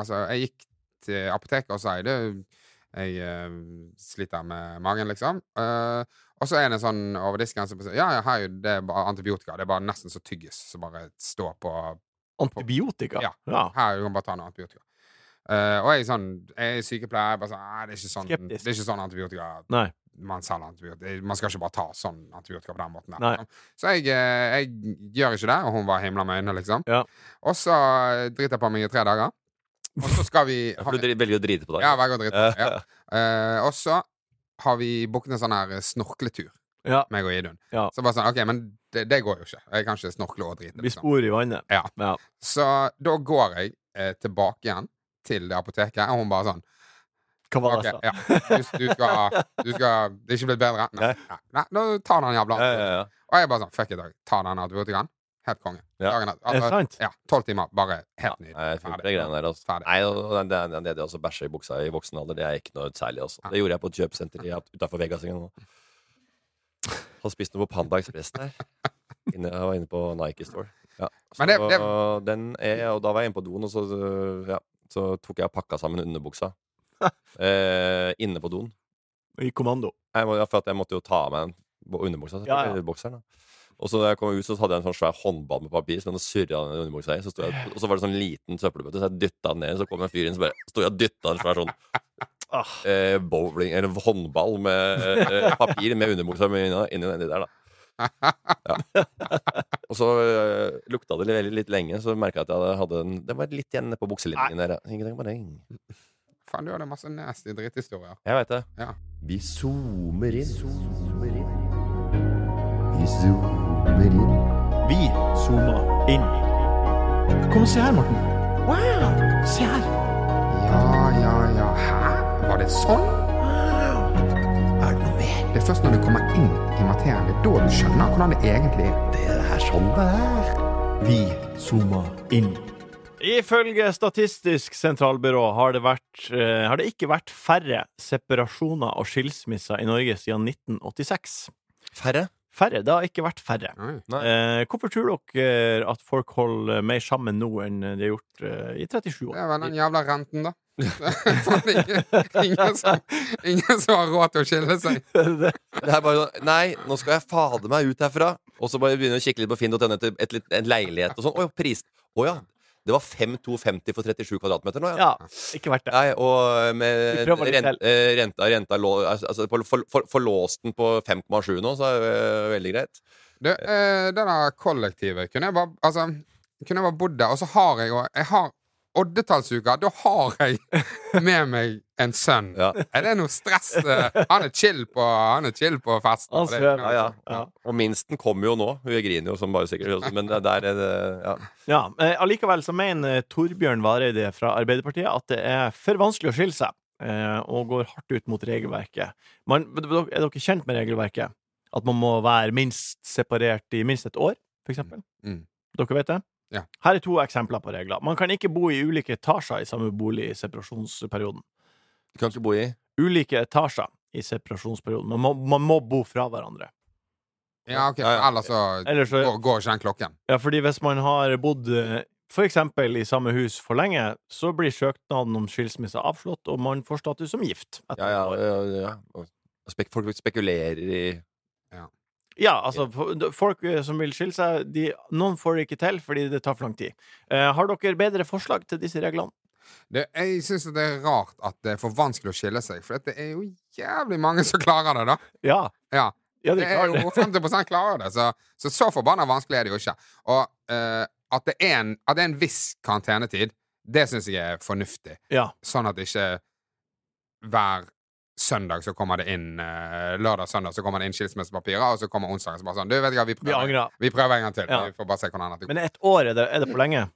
[SPEAKER 4] Altså, jeg gikk til apoteket og sa du, jeg eh, sliter med magen, liksom. Eh, og så er det en sånn over disken som sier ja, jeg har jo det er bare antibiotika. Det er bare nesten så tyggis som bare står på
[SPEAKER 2] Antibiotika?
[SPEAKER 4] Ja. Her, du kan bare ta noe antibiotika. Eh, og jeg er sånn Jeg er sykepleier. Bare sånn, «Nei, det er ikke sånn,
[SPEAKER 2] Skeptisk.
[SPEAKER 4] det er ikke sånn antibiotika
[SPEAKER 2] Nei.
[SPEAKER 4] man selger antibiotika. Man skal ikke bare ta sånn antibiotika på den måten. der,
[SPEAKER 2] Nei.
[SPEAKER 4] liksom. Så jeg, eh, jeg gjør ikke det, og hun var himla med øynene, liksom.
[SPEAKER 2] Ja.
[SPEAKER 4] Og så driter jeg på meg i tre dager. Og så skal vi
[SPEAKER 5] For du dri- velger å drite på deg.
[SPEAKER 4] Ja, vær så god, drit. Ja. Eh, og så har vi booket en sånn her snorkletur,
[SPEAKER 2] Ja.
[SPEAKER 4] meg og Idun.
[SPEAKER 2] Ja.
[SPEAKER 4] Så bare sånn, ok, men det, det går jo ikke. Jeg kan ikke snorkle og drite.
[SPEAKER 2] Vi
[SPEAKER 4] liksom.
[SPEAKER 2] sporer i vannet.
[SPEAKER 4] Ja.
[SPEAKER 2] Ja.
[SPEAKER 4] Så da går jeg eh, tilbake igjen til det apoteket, og hun bare sånn
[SPEAKER 2] Hva var det
[SPEAKER 4] Ok,
[SPEAKER 5] sånn."
[SPEAKER 2] jeg sa?
[SPEAKER 4] ja. du, du, skal, du skal Det er ikke blitt bedre? Nei. Nei. Nei, da tar den jævla
[SPEAKER 5] Ja, ja, ja.
[SPEAKER 4] Og jeg bare sånn Fuck it, Dag. Ta den antibiotikaen. Helt konge.
[SPEAKER 5] Ja.
[SPEAKER 4] Dagen etter. altså,
[SPEAKER 2] Er det sant?
[SPEAKER 4] ja, tolv timer. Bare helt nydelig.
[SPEAKER 5] Nei, jeg tror ikke det greiene der, altså.
[SPEAKER 4] Ferdig.
[SPEAKER 5] Nei, og det, det, det, det å bæsje i buksa i voksen alder, det er ikke noe særlig, altså. Det gjorde jeg på et kjøpesenter i- utenfor Vegas en gang. nå. Hadde spist noe på Panda Express der. Inne, jeg var inne på Nike Store. Ja. Så,
[SPEAKER 4] Men det- det-
[SPEAKER 5] Den er, og da var jeg inne på doen, og så, øh, ja, så tok jeg og pakka sammen underbuksa. eh, inne på doen.
[SPEAKER 2] I kommando.
[SPEAKER 5] Jeg må, ja, for at jeg måtte jo ta av meg den underbuksa.
[SPEAKER 2] Ja, ja.
[SPEAKER 5] eller Bokseren, da. Og så da jeg kom ut, så hadde jeg en sånn svær håndball med papir som jeg hadde surra den underbuksa i. Så sto jeg, og så var det sånn liten søppelbøtte, så jeg dytta den ned. Så kom en fyr inn så bare sto jeg og dytta en svær sånn
[SPEAKER 2] Ah,
[SPEAKER 5] eh, bowling, eller håndball med eh, papir med underbuksa mi inni inni den der, da. Ja. Og så eh, lukta det veldig litt lenge, så merka jeg at jeg hadde- hadde en Det var litt igjen nede på bukselinjen der. Jeg, tenkte, bare, "Eng."
[SPEAKER 4] Faen, du hadde masse nasty dritthistorier.
[SPEAKER 5] jeg veit det.
[SPEAKER 4] Ja.
[SPEAKER 5] Vi zoomer inn.
[SPEAKER 2] vi zooma inn. Kom og se her, Morten. Wow! Se her.
[SPEAKER 4] Ja, ja, ja. Hæ? Var det sånn?
[SPEAKER 6] Er det noe mer?
[SPEAKER 4] Det er først når du kommer inn i materien, det er da du skjønner hvordan det egentlig er.
[SPEAKER 6] Det er her sånn det er.
[SPEAKER 2] Vi zooma inn. Ifølge Statistisk sentralbyrå har det, vært, eh, har det ikke vært færre separasjoner og skilsmisser i Norge siden 1986.
[SPEAKER 5] Færre?
[SPEAKER 2] Færre? Det har ikke vært færre.
[SPEAKER 4] Oi.
[SPEAKER 2] Eh, hvorfor tror dere eh, at folk holder mer sammen nå enn de har gjort eh, i 37
[SPEAKER 4] Det
[SPEAKER 2] år?
[SPEAKER 4] var den jævla renten, da. Faen, ingen, ingen, som, ingen som har råd til å skille seg.
[SPEAKER 5] Det er bare sånn Nei, nå skal jeg fader meg ut herfra. Og så bare begynner jeg å kikke litt på Finn.no etter et, litt- en leilighet og sånn. Å ja, pris. Å ja. Det var 5250 for 37 kvadratmeter nå, ja.
[SPEAKER 2] Ja, ikke vært det.
[SPEAKER 5] Nei, og med
[SPEAKER 2] Vi prøver litt
[SPEAKER 5] rent,
[SPEAKER 2] selv.
[SPEAKER 5] eh, renta, renta lå- altså, for, for, for, Forlåst den på 5,7 nå, så er det eh, veldig greit.
[SPEAKER 4] Du, eh, det der kollektivet Kunne jeg bare, altså, kunne jeg bare bodd der Og så har jeg, jo- jeg har Oddetallsuka, da har jeg Med meg en sønn
[SPEAKER 5] Ja.
[SPEAKER 4] Er det noe stress? eh? Han er chill på Han er chill på festen
[SPEAKER 2] Han
[SPEAKER 4] og det-
[SPEAKER 2] svever.
[SPEAKER 5] Ja, ja.
[SPEAKER 2] Ja.
[SPEAKER 5] Og minsten kommer jo nå. Hun griner jo som bare sikkert. Men det- der er det Ja.
[SPEAKER 2] Ja, eh, Allikevel så mener eh, Torbjørn Vareide fra Arbeiderpartiet at det er for vanskelig å skille seg, eh, og går hardt ut mot regelverket. Man, er dere kjent med regelverket? At man må være minst separert i minst et år, for eksempel?
[SPEAKER 4] Mm.
[SPEAKER 2] Dere vet det?
[SPEAKER 4] Ja.
[SPEAKER 2] Her er to eksempler på regler. Man kan ikke bo i ulike etasjer i samme bolig i separasjonsperioden.
[SPEAKER 5] Du kan ikke bo i
[SPEAKER 2] Ulike etasjer i separasjonsperioden. Man må, man må bo fra hverandre.
[SPEAKER 4] Ja, ok,
[SPEAKER 5] Ja, ja.
[SPEAKER 4] ellers så
[SPEAKER 2] Ellers så
[SPEAKER 4] går, går ikke den klokken
[SPEAKER 2] Ja, fordi hvis man har bodd eh, for eksempel i samme hus for lenge, så blir søknaden om skilsmisse avslått, og man får status som gift. etter
[SPEAKER 5] Ja, ja.
[SPEAKER 2] et år.
[SPEAKER 5] ja, ja. Og Spek, folk spekulerer i
[SPEAKER 2] ja altså, for- d- folk eh, som vil skille seg, de, noen får det ikke til fordi det tar for lang tid. Eh, har dere bedre forslag til disse reglene?
[SPEAKER 4] det, Jeg synes at det er rart at det er for vanskelig å skille seg For det er jo jævlig mange som klarer det da
[SPEAKER 2] Ja.
[SPEAKER 4] Ja.
[SPEAKER 2] Ja, de
[SPEAKER 4] Det er
[SPEAKER 2] klarer det.
[SPEAKER 4] jo 50 klarer det, så så, så forbanna vanskelig er det jo ikke. Og eh, at, det er en, at det er en viss karantenetid, det syns jeg er fornuftig.
[SPEAKER 2] Ja.
[SPEAKER 4] Sånn at ikke hver søndag så kommer det inn eh, lørdag-søndag så kommer det inn skilsmissepapirer, og så kommer onsdagen så bare sånn Du, vet du hva, vi
[SPEAKER 2] Vi
[SPEAKER 4] prøver,
[SPEAKER 2] angrer.
[SPEAKER 4] vi prøver en gang til.
[SPEAKER 2] Ja.
[SPEAKER 4] Vi får bare se hvordan dette går.
[SPEAKER 2] Men ett år, er det, er det for lenge?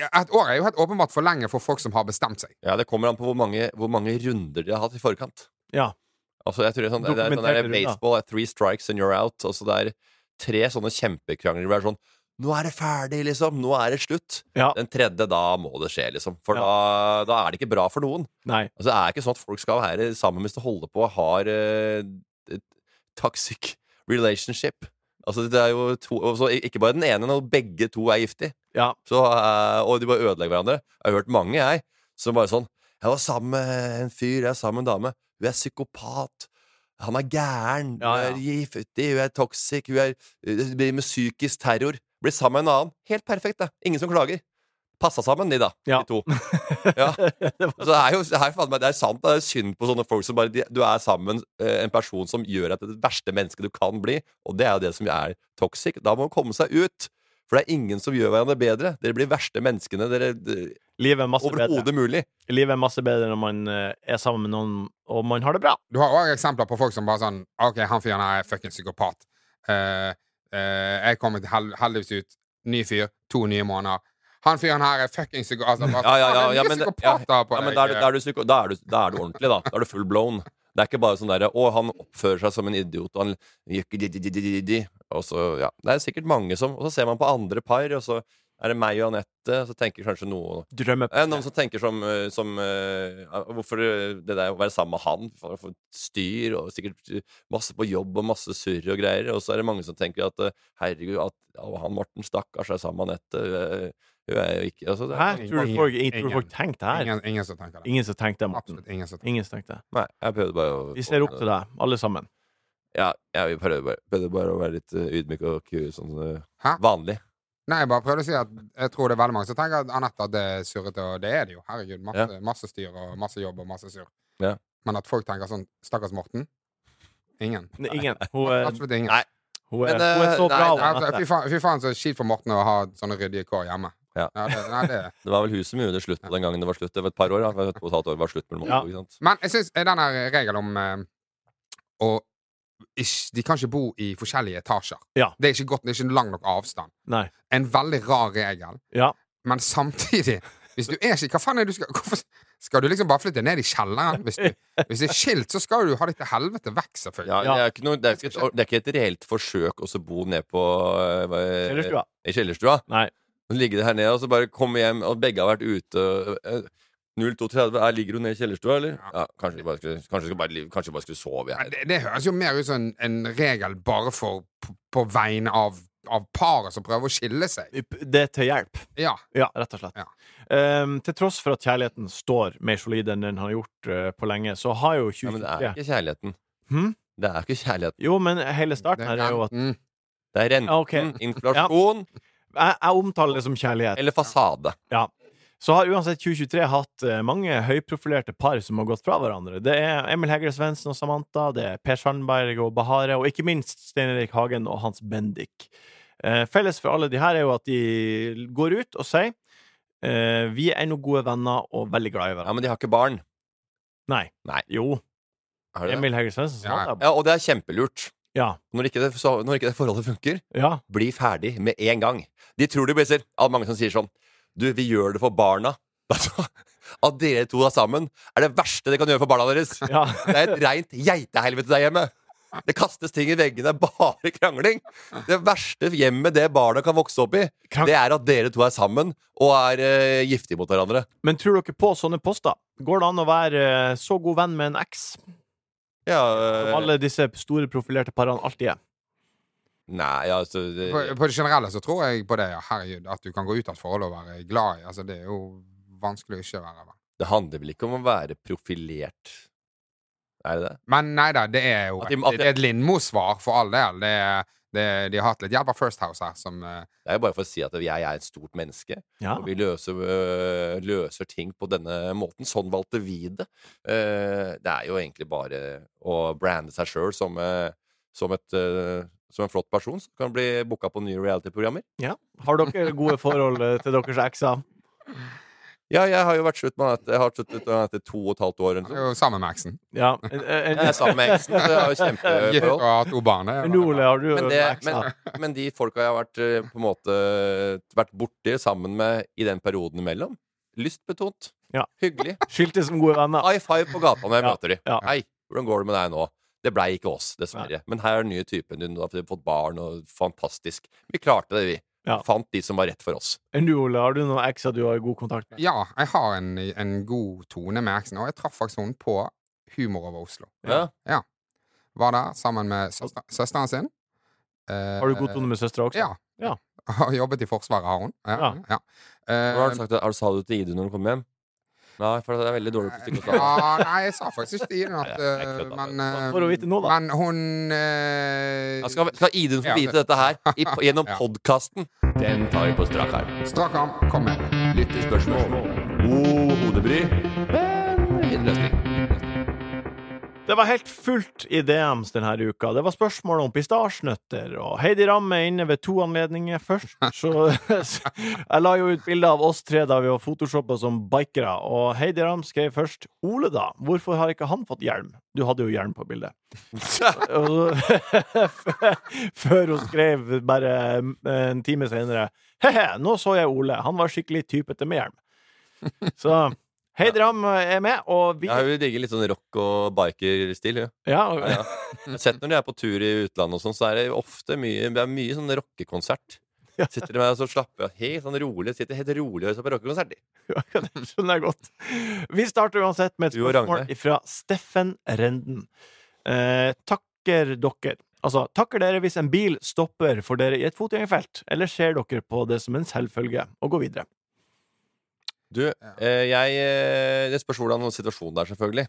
[SPEAKER 4] Ja, et år er jo helt åpenbart for lenge for folk som har bestemt seg.
[SPEAKER 5] Ja, Det kommer an på hvor mange, hvor mange runder de har hatt i forkant.
[SPEAKER 2] Ja.
[SPEAKER 5] Altså, jeg tror det er sånn, det er sånn der
[SPEAKER 2] Dokumenterte runder.
[SPEAKER 5] baseball er three strikes and you're out. Altså, det er tre sånne kjempekrangler hvor det er sånn Nå er det ferdig, liksom! Nå er det slutt!
[SPEAKER 2] Ja.
[SPEAKER 5] Den tredje, da må det skje, liksom. For
[SPEAKER 2] Ja.
[SPEAKER 5] da, da er det ikke bra for noen.
[SPEAKER 2] Nei.
[SPEAKER 5] Altså, det er ikke sånn at folk skal være sammen hvis de holder på og har eh, et toxic relationship. Altså, det er jo to, og så Ikke bare den ene, men begge to er giftige.
[SPEAKER 2] Ja.
[SPEAKER 5] Så, eh, og de bare ødelegger hverandre. Jeg har hørt mange jeg som bare sånn Jeg var sammen med en fyr, jeg er sammen med en dame. Hun er psykopat. Han er gæren.
[SPEAKER 2] Ja, ja.
[SPEAKER 5] Hun er giftig. Hun er toxic. Hun er, eh, driver med psykisk terror. Blir sammen med en annen. Helt perfekt, det. Ingen som klager. Passa sammen, de, da.
[SPEAKER 2] Ja.
[SPEAKER 5] De to. Ja. Så det er jo det er, faen meg- det er sant. Det er synd på sånne folk som bare de, Du er sammen med en, en person som gjør at det er det verste mennesket du kan bli, og det er jo det som er toxic. Da må man komme seg ut. For det er ingen som gjør hverandre bedre. Dere blir verste menneskene dere d-
[SPEAKER 2] Livet er masse
[SPEAKER 4] Altså,
[SPEAKER 2] bedre.
[SPEAKER 5] overhodet mulig.
[SPEAKER 2] Livet er masse bedre når man eh, er sammen med noen og man har det bra.
[SPEAKER 4] Du har òg eksempler på folk som bare sånn OK, han fyren her er fucking psykopat. Eh, eh, jeg kommer hel heldigvis ut. Ny fyr. To nye måneder. Han fyren her er fucking psykopat. Altså, bare
[SPEAKER 5] Ja, ja, ja,
[SPEAKER 4] sånn, «Faen, det er
[SPEAKER 5] ja,
[SPEAKER 4] mye
[SPEAKER 5] men, det- ja,
[SPEAKER 4] psykopater
[SPEAKER 5] ja,
[SPEAKER 4] på
[SPEAKER 5] men
[SPEAKER 4] deg.
[SPEAKER 5] da, er du, da, er du psyko, da, er du, da er du ordentlig, da. Da er du full blown. Det er ikke bare sånn derre Å, han oppfører seg som en idiot, og han jukki-di-di-di-di-di. Og så, ja. Det er sikkert mange som Og så ser man på andre par, og så er det meg og Anette, så tenker kanskje noen
[SPEAKER 2] Drømmer.
[SPEAKER 5] Eh, Noen som tenker som, eh, som eh, Hvorfor eh, det der å være sammen med han? For, for styr og sikkert eh, masse på jobb og masse surr og greier. Og så er det mange som tenker at eh, herregud, at å, han Morten stakkars er sammen med Anette. eh, Hun er jo ikke altså, det,
[SPEAKER 2] Hæ? Tror du
[SPEAKER 4] Ingen.
[SPEAKER 2] folk, jeg tror folk
[SPEAKER 4] Ingen.
[SPEAKER 2] tenkte det her?
[SPEAKER 4] ingen, ingen som tenker det.
[SPEAKER 2] Ingen som tenkte det, Morten.
[SPEAKER 4] Absolutt ingen som tenker det.
[SPEAKER 2] Ingen som tenkte det.
[SPEAKER 5] Nei, jeg prøvde bare å
[SPEAKER 2] Vi ser opp til deg, alle sammen.
[SPEAKER 5] Ja, jeg prøvde bare, prøvde bare å være litt eh, ydmyk og ku, sånn eh,
[SPEAKER 4] Hæ?
[SPEAKER 5] vanlig.
[SPEAKER 4] Nei, jeg bare prøvde å si at jeg tror det er veldig mange som tenker at Anette at det er surrete, og det er det jo. Herregud, masse, masse styr og masse jobb og masse surr.
[SPEAKER 5] Ja.
[SPEAKER 4] Men at folk tenker sånn Stakkars Morten. Ingen.
[SPEAKER 2] Nei, ingen. Hun er,
[SPEAKER 4] Absolutt ingen.
[SPEAKER 5] Nei,
[SPEAKER 2] hun er,
[SPEAKER 5] Men, eh,
[SPEAKER 2] hun er så
[SPEAKER 5] nei,
[SPEAKER 2] bra,
[SPEAKER 5] nei,
[SPEAKER 4] Ja, altså,
[SPEAKER 2] Anette.
[SPEAKER 4] Fy faen, fy faen så kjipt for Morten å ha sånne ryddige kår hjemme.
[SPEAKER 5] Ja.
[SPEAKER 4] det, nei, det.
[SPEAKER 5] Det var vel huset som gjorde slutt på den gangen det var slutt. Det var et par år, da. Det var et og et halvt år det var slutt mellom oss
[SPEAKER 2] Ja.
[SPEAKER 5] to, ikke sant?
[SPEAKER 4] Men jeg syns den her regelen om eh, å ikke, De kan ikke bo i forskjellige etasjer.
[SPEAKER 2] Ja.
[SPEAKER 4] Det er ikke godt, det er ikke lang nok avstand.
[SPEAKER 2] Nei.
[SPEAKER 4] En veldig rar regel.
[SPEAKER 2] Ja.
[SPEAKER 4] Men samtidig Hvis du er ikke Hva faen er det du skal Hvorfor skal du liksom bare flytte ned i kjelleren? Hvis, du, hvis det er skilt, så skal du ha det til helvete vekk, selvfølgelig.
[SPEAKER 5] Ja,
[SPEAKER 2] Ja.
[SPEAKER 5] Det, er ikke noe, det, er ikke et, det er ikke et reelt forsøk å så bo ned på eh, eh,
[SPEAKER 2] Kjellerstua.
[SPEAKER 5] i kjellerstua.
[SPEAKER 2] Nei.
[SPEAKER 5] Så ligger det her nede, og så bare kommer hjem, og begge har vært ute. øh, øh, 0-2-30, er- ligger hun nede i kjellerstua, eller? Ja, kanskje de bare skulle, kanskje de bare, kanskje de bare skulle sove
[SPEAKER 4] Men
[SPEAKER 5] her.
[SPEAKER 4] Det, det høres jo mer ut som en, en regel bare for på, på vegne av, av paret som prøver å skille seg.
[SPEAKER 2] Det er til hjelp.
[SPEAKER 4] Ja.
[SPEAKER 2] Ja, rett og slett.
[SPEAKER 4] Ja.
[SPEAKER 2] Ehm, til tross for at kjærligheten står mer solid enn den har gjort eh, på lenge, så har jo
[SPEAKER 5] Ja, men det
[SPEAKER 2] 2023
[SPEAKER 5] er ikke kjærligheten.
[SPEAKER 2] Hm?
[SPEAKER 5] Det er ikke kjærligheten.
[SPEAKER 2] Jo, men hele starten her er jo at
[SPEAKER 4] Mm.
[SPEAKER 5] Det er renten,
[SPEAKER 2] Ja, ok.
[SPEAKER 5] inflasjon
[SPEAKER 2] jeg, jeg omtaler det som kjærlighet.
[SPEAKER 5] eller fasade.
[SPEAKER 2] Så har uansett 2023 hatt eh, mange høyprofilerte par som har gått fra hverandre. Det er Emil Hegle Svendsen og Samantha, det er Per Sandberg og Bahare, og ikke minst Stein Erik Hagen og Hans Bendik. Eh, felles for alle de her er jo at de går ut og sier eh, vi er ennå gode venner og veldig glad i
[SPEAKER 5] Ja,
[SPEAKER 2] hverandre.
[SPEAKER 5] men de har ikke barn.
[SPEAKER 2] Nei.
[SPEAKER 5] Nei.
[SPEAKER 2] Jo.
[SPEAKER 5] Har de det?
[SPEAKER 2] Emil Hegle Svendsen sa
[SPEAKER 4] Ja.
[SPEAKER 2] det.
[SPEAKER 5] Ja, og det er kjempelurt.
[SPEAKER 2] Ja.
[SPEAKER 5] Når ikke, det, så, når ikke det forholdet funker,
[SPEAKER 2] Ja.
[SPEAKER 5] bli ferdig med en gang. De tror de blir av mange som sier sånn Du, vi gjør det for barna. Altså, At dere to er sammen, er det verste dere kan gjøre for barna deres.
[SPEAKER 2] ja.
[SPEAKER 5] Det er et reint geitehelvete der hjemme. Det kastes ting i veggene. Det er bare krangling. Det verste hjemmet det barna kan vokse opp i,
[SPEAKER 2] Krang-
[SPEAKER 5] det er at dere to er sammen og er eh, giftige mot hverandre.
[SPEAKER 2] Men tror dere på sånne poster? Går det an å være eh, så god venn med en eks
[SPEAKER 5] Ja,
[SPEAKER 2] som
[SPEAKER 5] eh,
[SPEAKER 2] alle disse store profilerte parene alltid er?
[SPEAKER 5] Nei, ja, altså det,
[SPEAKER 4] På, på det generelle så tror jeg på det, ja, herregud, at du kan gå ut av et forhold og være glad i. Altså, det er jo vanskelig å ikke være venn.
[SPEAKER 5] det handler vel ikke om å være profilert. Er det det?
[SPEAKER 4] Men nei da, det er jo
[SPEAKER 5] At
[SPEAKER 4] et,
[SPEAKER 5] de- at de-
[SPEAKER 4] det er et Lindmo-svar for all del. Det, er- det, de har hatt litt hjelp av First House her, som eh,
[SPEAKER 5] Det er jo bare for å si at jeg er et stort menneske.
[SPEAKER 2] Ja.
[SPEAKER 5] Og vi løser, øh, løser ting på denne måten. Sånn valgte vi det. Eh, det er jo egentlig bare å brande seg sjøl som, eh, som, et, eh, som en flott person som kan bli booka på nye reality-programmer.
[SPEAKER 2] Har dere gode forhold eh, til deres ekser?
[SPEAKER 5] Ja, jeg har jo vært slutt med at Jeg har sluttet med at det er to og et halvt år. eller noe
[SPEAKER 4] Det er
[SPEAKER 5] sånt.
[SPEAKER 4] jo Sammen med eksen.
[SPEAKER 2] Ja. En, en,
[SPEAKER 5] Jeg er sammen med eksen, så jeg har jo
[SPEAKER 4] Gift og
[SPEAKER 5] kjempeforhold.
[SPEAKER 4] har to barn. det er
[SPEAKER 2] en, Ole, har du
[SPEAKER 5] Men, det,
[SPEAKER 2] eksa?
[SPEAKER 5] men, men de folka jeg har vært eh, på en måte vært borti sammen med i den perioden imellom Lystbetont.
[SPEAKER 2] Ja.
[SPEAKER 5] Hyggelig.
[SPEAKER 2] Skilte som gode venner.
[SPEAKER 5] High five på gata når jeg
[SPEAKER 2] Ja,
[SPEAKER 5] møter de.
[SPEAKER 2] ja.
[SPEAKER 5] Hei, hvordan går det med deg nå? Det blei ikke oss, dessverre. Men her er den nye typen din. Du har fått barn, og fantastisk. Vi klarte det, vi.
[SPEAKER 2] Ja.
[SPEAKER 5] Fant de som var rett for oss.
[SPEAKER 2] Enn du, Ole, har du noen ekser du har god kontakt med?
[SPEAKER 4] Ja, jeg har en, en god tone med eksen, og jeg traff faktisk henne på Humor over Oslo.
[SPEAKER 5] Ja.
[SPEAKER 4] Var der sammen med søster, søsteren sin. Eh,
[SPEAKER 2] Har du god tone med søstera også?
[SPEAKER 4] Ja.
[SPEAKER 2] Ja.
[SPEAKER 4] Har jobbet i Forsvaret, har hun.
[SPEAKER 2] Ja.
[SPEAKER 4] ja. Eh,
[SPEAKER 5] Hva har du sagt? Har du sa du til Ida når hun kom hjem? Nei, for det er veldig dårlig på stikk og slag.
[SPEAKER 4] ja, nei, jeg sa faktisk ikke til henne at
[SPEAKER 5] Ja, jeg
[SPEAKER 4] eh,
[SPEAKER 5] kødda.
[SPEAKER 4] men, eh,
[SPEAKER 2] Får du vite nå, da?
[SPEAKER 4] men hun eh,
[SPEAKER 5] Ja, Skal, skal Idun få
[SPEAKER 4] Ja,
[SPEAKER 5] vite
[SPEAKER 4] det-
[SPEAKER 5] dette her i, gjennom
[SPEAKER 4] Ja.
[SPEAKER 5] podkasten? Den tar vi på strak arm.
[SPEAKER 4] Strak arm, kom med.
[SPEAKER 5] Lyttespørsmål. God hodebry. Men fin løsning.
[SPEAKER 2] Det var helt fullt i DMs denne uka. Det var spørsmål om pistasjenøtter, og Heidi Ramm er inne ved to anledninger. Først så Jeg la jo ut bilde av oss tre da vi var photoshoppa som bikere, og Heidi Ramm skrev først 'Ole, da, hvorfor har ikke han fått hjelm?' Du hadde jo hjelm på bildet. Og så- Før hun skrev bare eh, en time senere 'He-he, nå så jeg Ole. Han var skikkelig typete med hjelm'. Så Heidi Ramm er med, og vi
[SPEAKER 5] Ja, hun digger litt sånn rock og biker-stil. Ja.
[SPEAKER 2] Ja,
[SPEAKER 5] Ja, ja. Jeg har sett når de er på tur i utlandet, og sånn, så er det ofte mye, det er mye sånn rockekonsert. Sitter de med og så slapper av helt sånn rolig Sitter helt rolig og hører på rockekonsert. de.
[SPEAKER 2] Ja, det skjønner jeg godt. Vi starter uansett med et
[SPEAKER 5] Du og
[SPEAKER 2] spørsmål
[SPEAKER 5] Ragne.
[SPEAKER 2] fra Steffen Renden. Eh, takker dere. Altså, takker dere hvis en bil stopper for dere i et fotgjengerfelt, eller ser dere på det som en selvfølge og går videre?
[SPEAKER 5] Du, eh, jeg eh, Det spørs hvordan situasjonen er, selvfølgelig.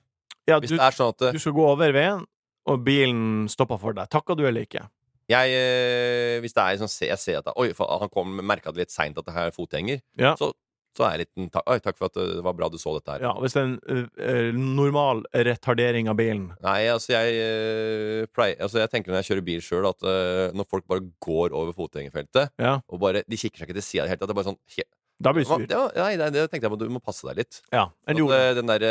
[SPEAKER 2] Ja,
[SPEAKER 5] Hvis
[SPEAKER 2] du,
[SPEAKER 5] det er sånn at eh,
[SPEAKER 2] du skal gå over veien, og bilen stopper for deg. Takker du eller ikke?
[SPEAKER 5] jeg eh, Hvis det er sånn se- jeg ser at det- Oi, faen, han kom merka det litt seint at det her er fotgjenger,
[SPEAKER 2] Ja.
[SPEAKER 5] så, så er jeg litt en ta- Oi, takk for at eh, det var bra du så dette her.
[SPEAKER 2] Ja, hvis det er en eh, eh, normal retardering av bilen.
[SPEAKER 5] Nei, altså jeg eh, pleier Altså jeg tenker når jeg kjører bil sjøl, at eh, når folk bare går over fotgjengerfeltet
[SPEAKER 2] Ja,
[SPEAKER 5] og bare De kikker seg ikke til sida i det hele tatt. Det er bare sånn he-
[SPEAKER 2] da blir du
[SPEAKER 5] Hva-
[SPEAKER 2] sur.
[SPEAKER 5] det var- Nei, nei, det tenkte jeg på. Du må passe deg litt.
[SPEAKER 2] Ja, enn
[SPEAKER 5] At,
[SPEAKER 2] du, Ole?
[SPEAKER 5] eh, den derre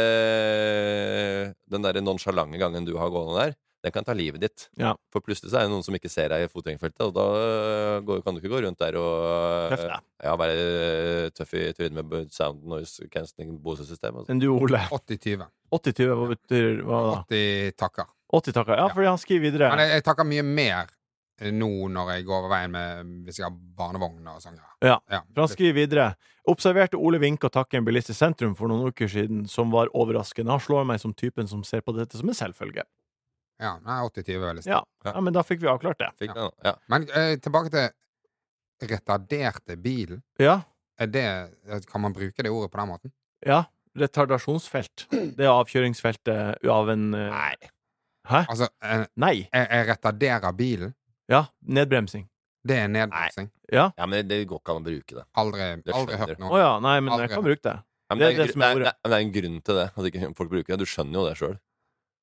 [SPEAKER 5] Den derre nonsjalante gangen du har gående der, den kan ta livet ditt.
[SPEAKER 2] Ja.
[SPEAKER 5] For plutselig så er det noen som ikke ser deg i fotgjengerfeltet, og da eh, går, kan du ikke gå rundt der og
[SPEAKER 2] Tøff deg.
[SPEAKER 5] ja, være eh, tøff i trynet med sound noise cancelling bosesystemet. Altså.
[SPEAKER 2] Enn du, Ole?
[SPEAKER 4] 80-20.
[SPEAKER 2] 80-20, hva betyr hva da?
[SPEAKER 4] 80 takker.
[SPEAKER 2] 80 takker. Ja,
[SPEAKER 4] Ja.
[SPEAKER 2] fordi han skriver videre.
[SPEAKER 4] Men jeg, jeg takker mye mer eh, nå når jeg går over veien med hvis jeg har barnevogn og sånn.
[SPEAKER 2] Ja.
[SPEAKER 4] Ja.
[SPEAKER 2] For han skriver videre Observerte Ole vinke og takke en bilist i sentrum for noen uker siden, som var overraskende. Han slår meg som typen som ser på dette som en selvfølge.
[SPEAKER 4] Ja, nei, 80-20 er veldig
[SPEAKER 2] Ja, ja men da fikk vi avklart det.
[SPEAKER 5] Fikk
[SPEAKER 4] Ja.
[SPEAKER 5] den, da. ja.
[SPEAKER 4] Men eh, tilbake til retarderte bilen.
[SPEAKER 2] Ja.
[SPEAKER 4] Er det, eh, kan man bruke det ordet på den måten?
[SPEAKER 2] ja. Retardasjonsfelt. Det er avkjøringsfeltet av en eh,
[SPEAKER 4] Altså, eh,
[SPEAKER 2] Nei.
[SPEAKER 4] jeg, jeg retarderer bilen.
[SPEAKER 2] Ja. Nedbremsing.
[SPEAKER 4] Det er nedbremsing.
[SPEAKER 2] Ja.
[SPEAKER 5] ja, men det går ikke an å bruke det.
[SPEAKER 4] Aldri,
[SPEAKER 5] Det
[SPEAKER 4] aldri
[SPEAKER 5] skjønner.
[SPEAKER 4] hørt
[SPEAKER 2] Å
[SPEAKER 4] noe.
[SPEAKER 2] ja. Nei, men jeg kan bruke det.
[SPEAKER 5] Ja,
[SPEAKER 2] Det
[SPEAKER 5] men
[SPEAKER 2] er
[SPEAKER 5] det, er,
[SPEAKER 2] det
[SPEAKER 5] gru-
[SPEAKER 2] som er
[SPEAKER 5] det,
[SPEAKER 2] ordet.
[SPEAKER 5] er, det er en grunn til det, at ikke folk bruker det. Du skjønner jo det sjøl.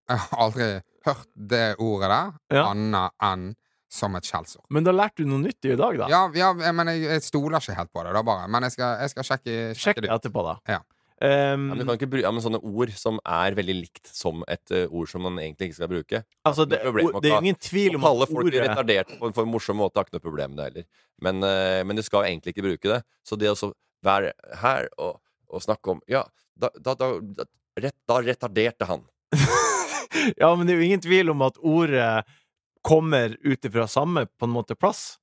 [SPEAKER 4] Jeg har aldri hørt det ordet der,
[SPEAKER 2] Ja.
[SPEAKER 4] annet enn som et skjellsord.
[SPEAKER 2] Men da lærte du noe nytt i dag, da.
[SPEAKER 4] Ja, ja, jeg- men jeg, jeg stoler ikke helt på det, da bare. Men jeg skal, jeg skal sjekke,
[SPEAKER 2] Sjekk
[SPEAKER 4] sjekke
[SPEAKER 2] det
[SPEAKER 4] det ut.
[SPEAKER 2] etterpå, da.
[SPEAKER 4] Ja.
[SPEAKER 2] Ehm,
[SPEAKER 5] Ja, men du kan ikke bruke ja, men sånne ord som er veldig likt som et eh, ord som man egentlig ikke skal bruke.
[SPEAKER 2] altså, det,
[SPEAKER 5] det er problemet å
[SPEAKER 2] det er
[SPEAKER 5] ta-
[SPEAKER 2] ingen tvil
[SPEAKER 5] Å
[SPEAKER 2] om
[SPEAKER 5] kalle
[SPEAKER 2] at
[SPEAKER 5] folk
[SPEAKER 2] ordet
[SPEAKER 5] retardert på en, på en morsom måte har ikke noe problem med det heller. Men, eh, men du skal jo egentlig ikke bruke det. Så det å så være her og, og snakke om Ja, da, da, da, da, rett, da retarderte han.
[SPEAKER 2] Ja, men det er jo ingen tvil om at ordet kommer ut ifra samme på en måte plass.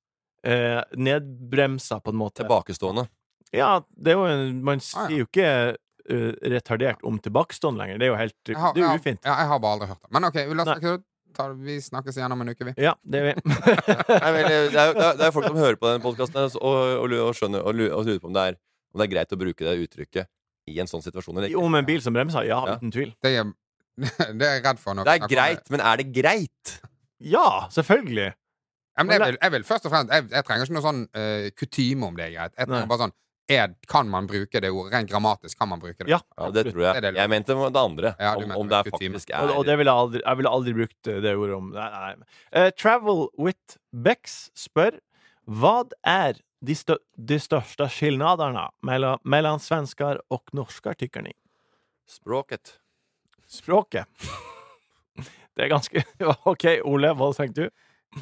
[SPEAKER 2] Eh, nedbremsa, på en måte.
[SPEAKER 5] Tilbakestående.
[SPEAKER 2] Ja, det er jo en, man
[SPEAKER 4] Ah, ja.
[SPEAKER 2] sier jo ikke eh, retardert om tilbakestående lenger. Det er jo helt
[SPEAKER 4] Jeg har-
[SPEAKER 2] Det er
[SPEAKER 4] jeg
[SPEAKER 2] jo
[SPEAKER 4] har-
[SPEAKER 2] ufint.
[SPEAKER 4] Ja, jeg har bare aldri hørt det. Men OK, vi, la oss
[SPEAKER 2] Nei.
[SPEAKER 4] sjekke det ut. Ta, vi snakkes igjen om en uke, vi.
[SPEAKER 2] Ja, det er vi.
[SPEAKER 5] Nei, vel, eh, det, er, jo- det er- det er folk som hører på den podkasten og, og, lu- og skjønner og, lu- og lurer på om det, er, om det er greit å bruke det uttrykket i en sånn situasjon. Eller ikke.
[SPEAKER 2] Om en bil som bremser? Ja,
[SPEAKER 5] Ja.
[SPEAKER 2] uten tvil.
[SPEAKER 4] Det er, det er jeg redd for. Når
[SPEAKER 5] Det
[SPEAKER 4] vi
[SPEAKER 5] er
[SPEAKER 4] snakker om
[SPEAKER 5] greit, men er det greit?
[SPEAKER 2] Ja, selvfølgelig!
[SPEAKER 4] Ja, men jeg, vil, jeg vil først og fremst Jeg, jeg trenger ikke noe sånn eh, kutyme om det er greit.
[SPEAKER 2] Nei.
[SPEAKER 4] Jeg trenger bare sånn er, Kan man bruke det ordet? Rent grammatisk kan man bruke det.
[SPEAKER 2] Ja,
[SPEAKER 5] Ja, det tror
[SPEAKER 4] Det
[SPEAKER 5] jeg.
[SPEAKER 4] er det-
[SPEAKER 5] Jeg mente det andre.
[SPEAKER 4] Ja, du
[SPEAKER 5] om,
[SPEAKER 4] mente
[SPEAKER 5] om det
[SPEAKER 4] det
[SPEAKER 5] er
[SPEAKER 4] kutyme.
[SPEAKER 5] faktisk
[SPEAKER 2] Og, og
[SPEAKER 5] er
[SPEAKER 2] det ville jeg, aldri, jeg ville aldri brukt det Eh, ordet om Nei, nei. Eh, Travel with Bex spør Hva er de, stö de största skillnaderna mellan, mellan svenskar och norskar, tycker ni?
[SPEAKER 5] Språket.
[SPEAKER 2] Språket. Det är ganska... Ja, Okej, Ole, vad tänkte du?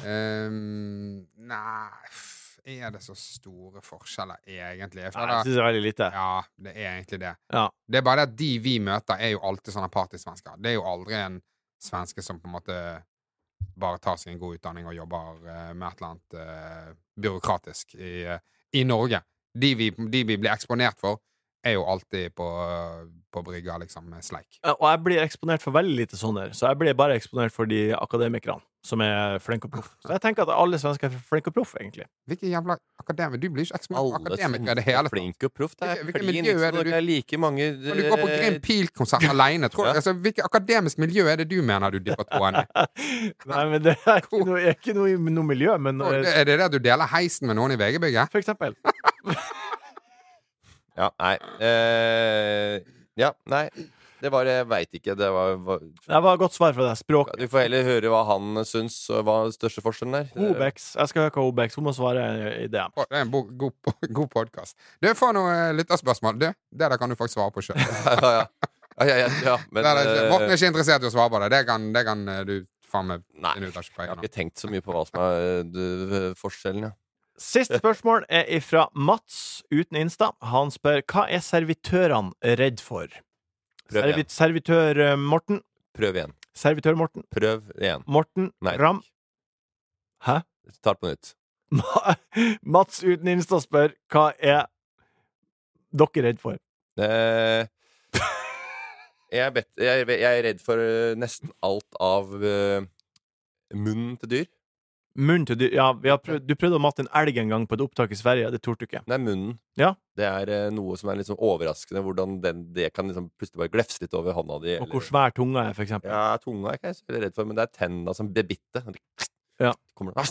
[SPEAKER 4] Ehm, nei f- Er det så store forskjeller, egentlig? For
[SPEAKER 2] Nei, jeg
[SPEAKER 4] da-
[SPEAKER 2] syns det er veldig lite.
[SPEAKER 4] ja, det er egentlig det.
[SPEAKER 2] Ja.
[SPEAKER 4] Det er bare det at de vi møter, er jo alltid sånne partysvensker. Det er jo aldri en svenske som på en måte bare tar seg en god utdanning og jobber eh, med et eller annet eh, byråkratisk i, eh, i Norge. De vi, de vi blir eksponert for, er jo alltid på, eh, på brygga, liksom, med sleik.
[SPEAKER 2] Eh, Og jeg blir eksponert for veldig lite sånne, så jeg blir bare eksponert for de akademikerne som er flinke og proff. Så jeg tenker at alle svensker er flinke og proff, egentlig.
[SPEAKER 4] Hvilke jævla akademiker Du blir ikke eksponert for
[SPEAKER 5] Alle som
[SPEAKER 4] akademikere i det
[SPEAKER 5] er
[SPEAKER 4] hele tatt.
[SPEAKER 5] flinke og proff. Det er
[SPEAKER 4] Hvilke- hvilke
[SPEAKER 5] klin,
[SPEAKER 4] miljø
[SPEAKER 5] ikke
[SPEAKER 4] er
[SPEAKER 5] sant?
[SPEAKER 4] det du-
[SPEAKER 5] Dere er like mange eh,
[SPEAKER 4] Når du går på Grim Pil-konsert alene, tror jeg.
[SPEAKER 5] Ja.
[SPEAKER 4] Altså, hvilket akademisk miljø er det du mener du dipper tåen i?
[SPEAKER 2] Nei, men det er ikke noe, jeg er ikke noe i noe miljø, men
[SPEAKER 4] Og det-
[SPEAKER 2] eh,
[SPEAKER 4] Er det det at du deler heisen med noen i VG-bygget?
[SPEAKER 2] for eksempel.
[SPEAKER 5] Ja, nei. Eh, ja, nei. Det var Jeg veit ikke. Det var, var
[SPEAKER 2] Det var et godt svar fra deg. Språk.
[SPEAKER 5] Du får heller høre hva han syns, og hva den største forskjellen er.
[SPEAKER 2] Obex. Jeg skal høre hva Obex Hun må svare i det.
[SPEAKER 4] Å, Det er en bo- god, po- god podkast. Du får noen lytterspørsmål. Du, det der kan du faktisk svare på sjøl.
[SPEAKER 5] Eh, ja, ja, ja. ja, ja, ja, ja, men eh,
[SPEAKER 4] Morten er ikke interessert i å svare på det. Det kan, det kan eh, du faen meg
[SPEAKER 5] Nei.
[SPEAKER 4] finne ut av ikke
[SPEAKER 5] Jeg
[SPEAKER 4] på egen
[SPEAKER 5] har
[SPEAKER 4] hånd.
[SPEAKER 5] ikke tenkt så mye på hva som er eh, d- forskjellen, ja.
[SPEAKER 2] Siste spørsmål er ifra Mats uten Insta. Han spør hva er servitørene redd for?
[SPEAKER 5] Prøv
[SPEAKER 2] Servi
[SPEAKER 5] igjen.
[SPEAKER 2] servitør eh, Morten.
[SPEAKER 5] Prøv igjen.
[SPEAKER 2] Servitør Morten.
[SPEAKER 5] Prøv igjen.
[SPEAKER 2] Morten
[SPEAKER 5] Nei.
[SPEAKER 2] Ram. Hæ?
[SPEAKER 5] Ta det på nytt.
[SPEAKER 2] Ma- Mats uten Insta spør hva er dere redd for?
[SPEAKER 5] Eh, jeg, bet, jeg, jeg er redd for eh, nesten alt av eh, munnen til dyr.
[SPEAKER 2] Munn til dyr Ja, vi har prøvd, du prøvde å mate en elg en gang på et opptak i Sverige. Det torde du ikke.
[SPEAKER 5] Nei, munnen.
[SPEAKER 2] Ja.
[SPEAKER 5] Det er eh, noe som er litt sånn overraskende, hvordan den, det kan liksom plutselig bare glefse litt over hånda di.
[SPEAKER 2] Og
[SPEAKER 5] eller-
[SPEAKER 2] hvor svær tunga er, for eksempel.
[SPEAKER 5] Ja, tunga er ikke jeg så veldig redd for, men det er tenna som bebitter.
[SPEAKER 2] Ja.
[SPEAKER 5] Kommer det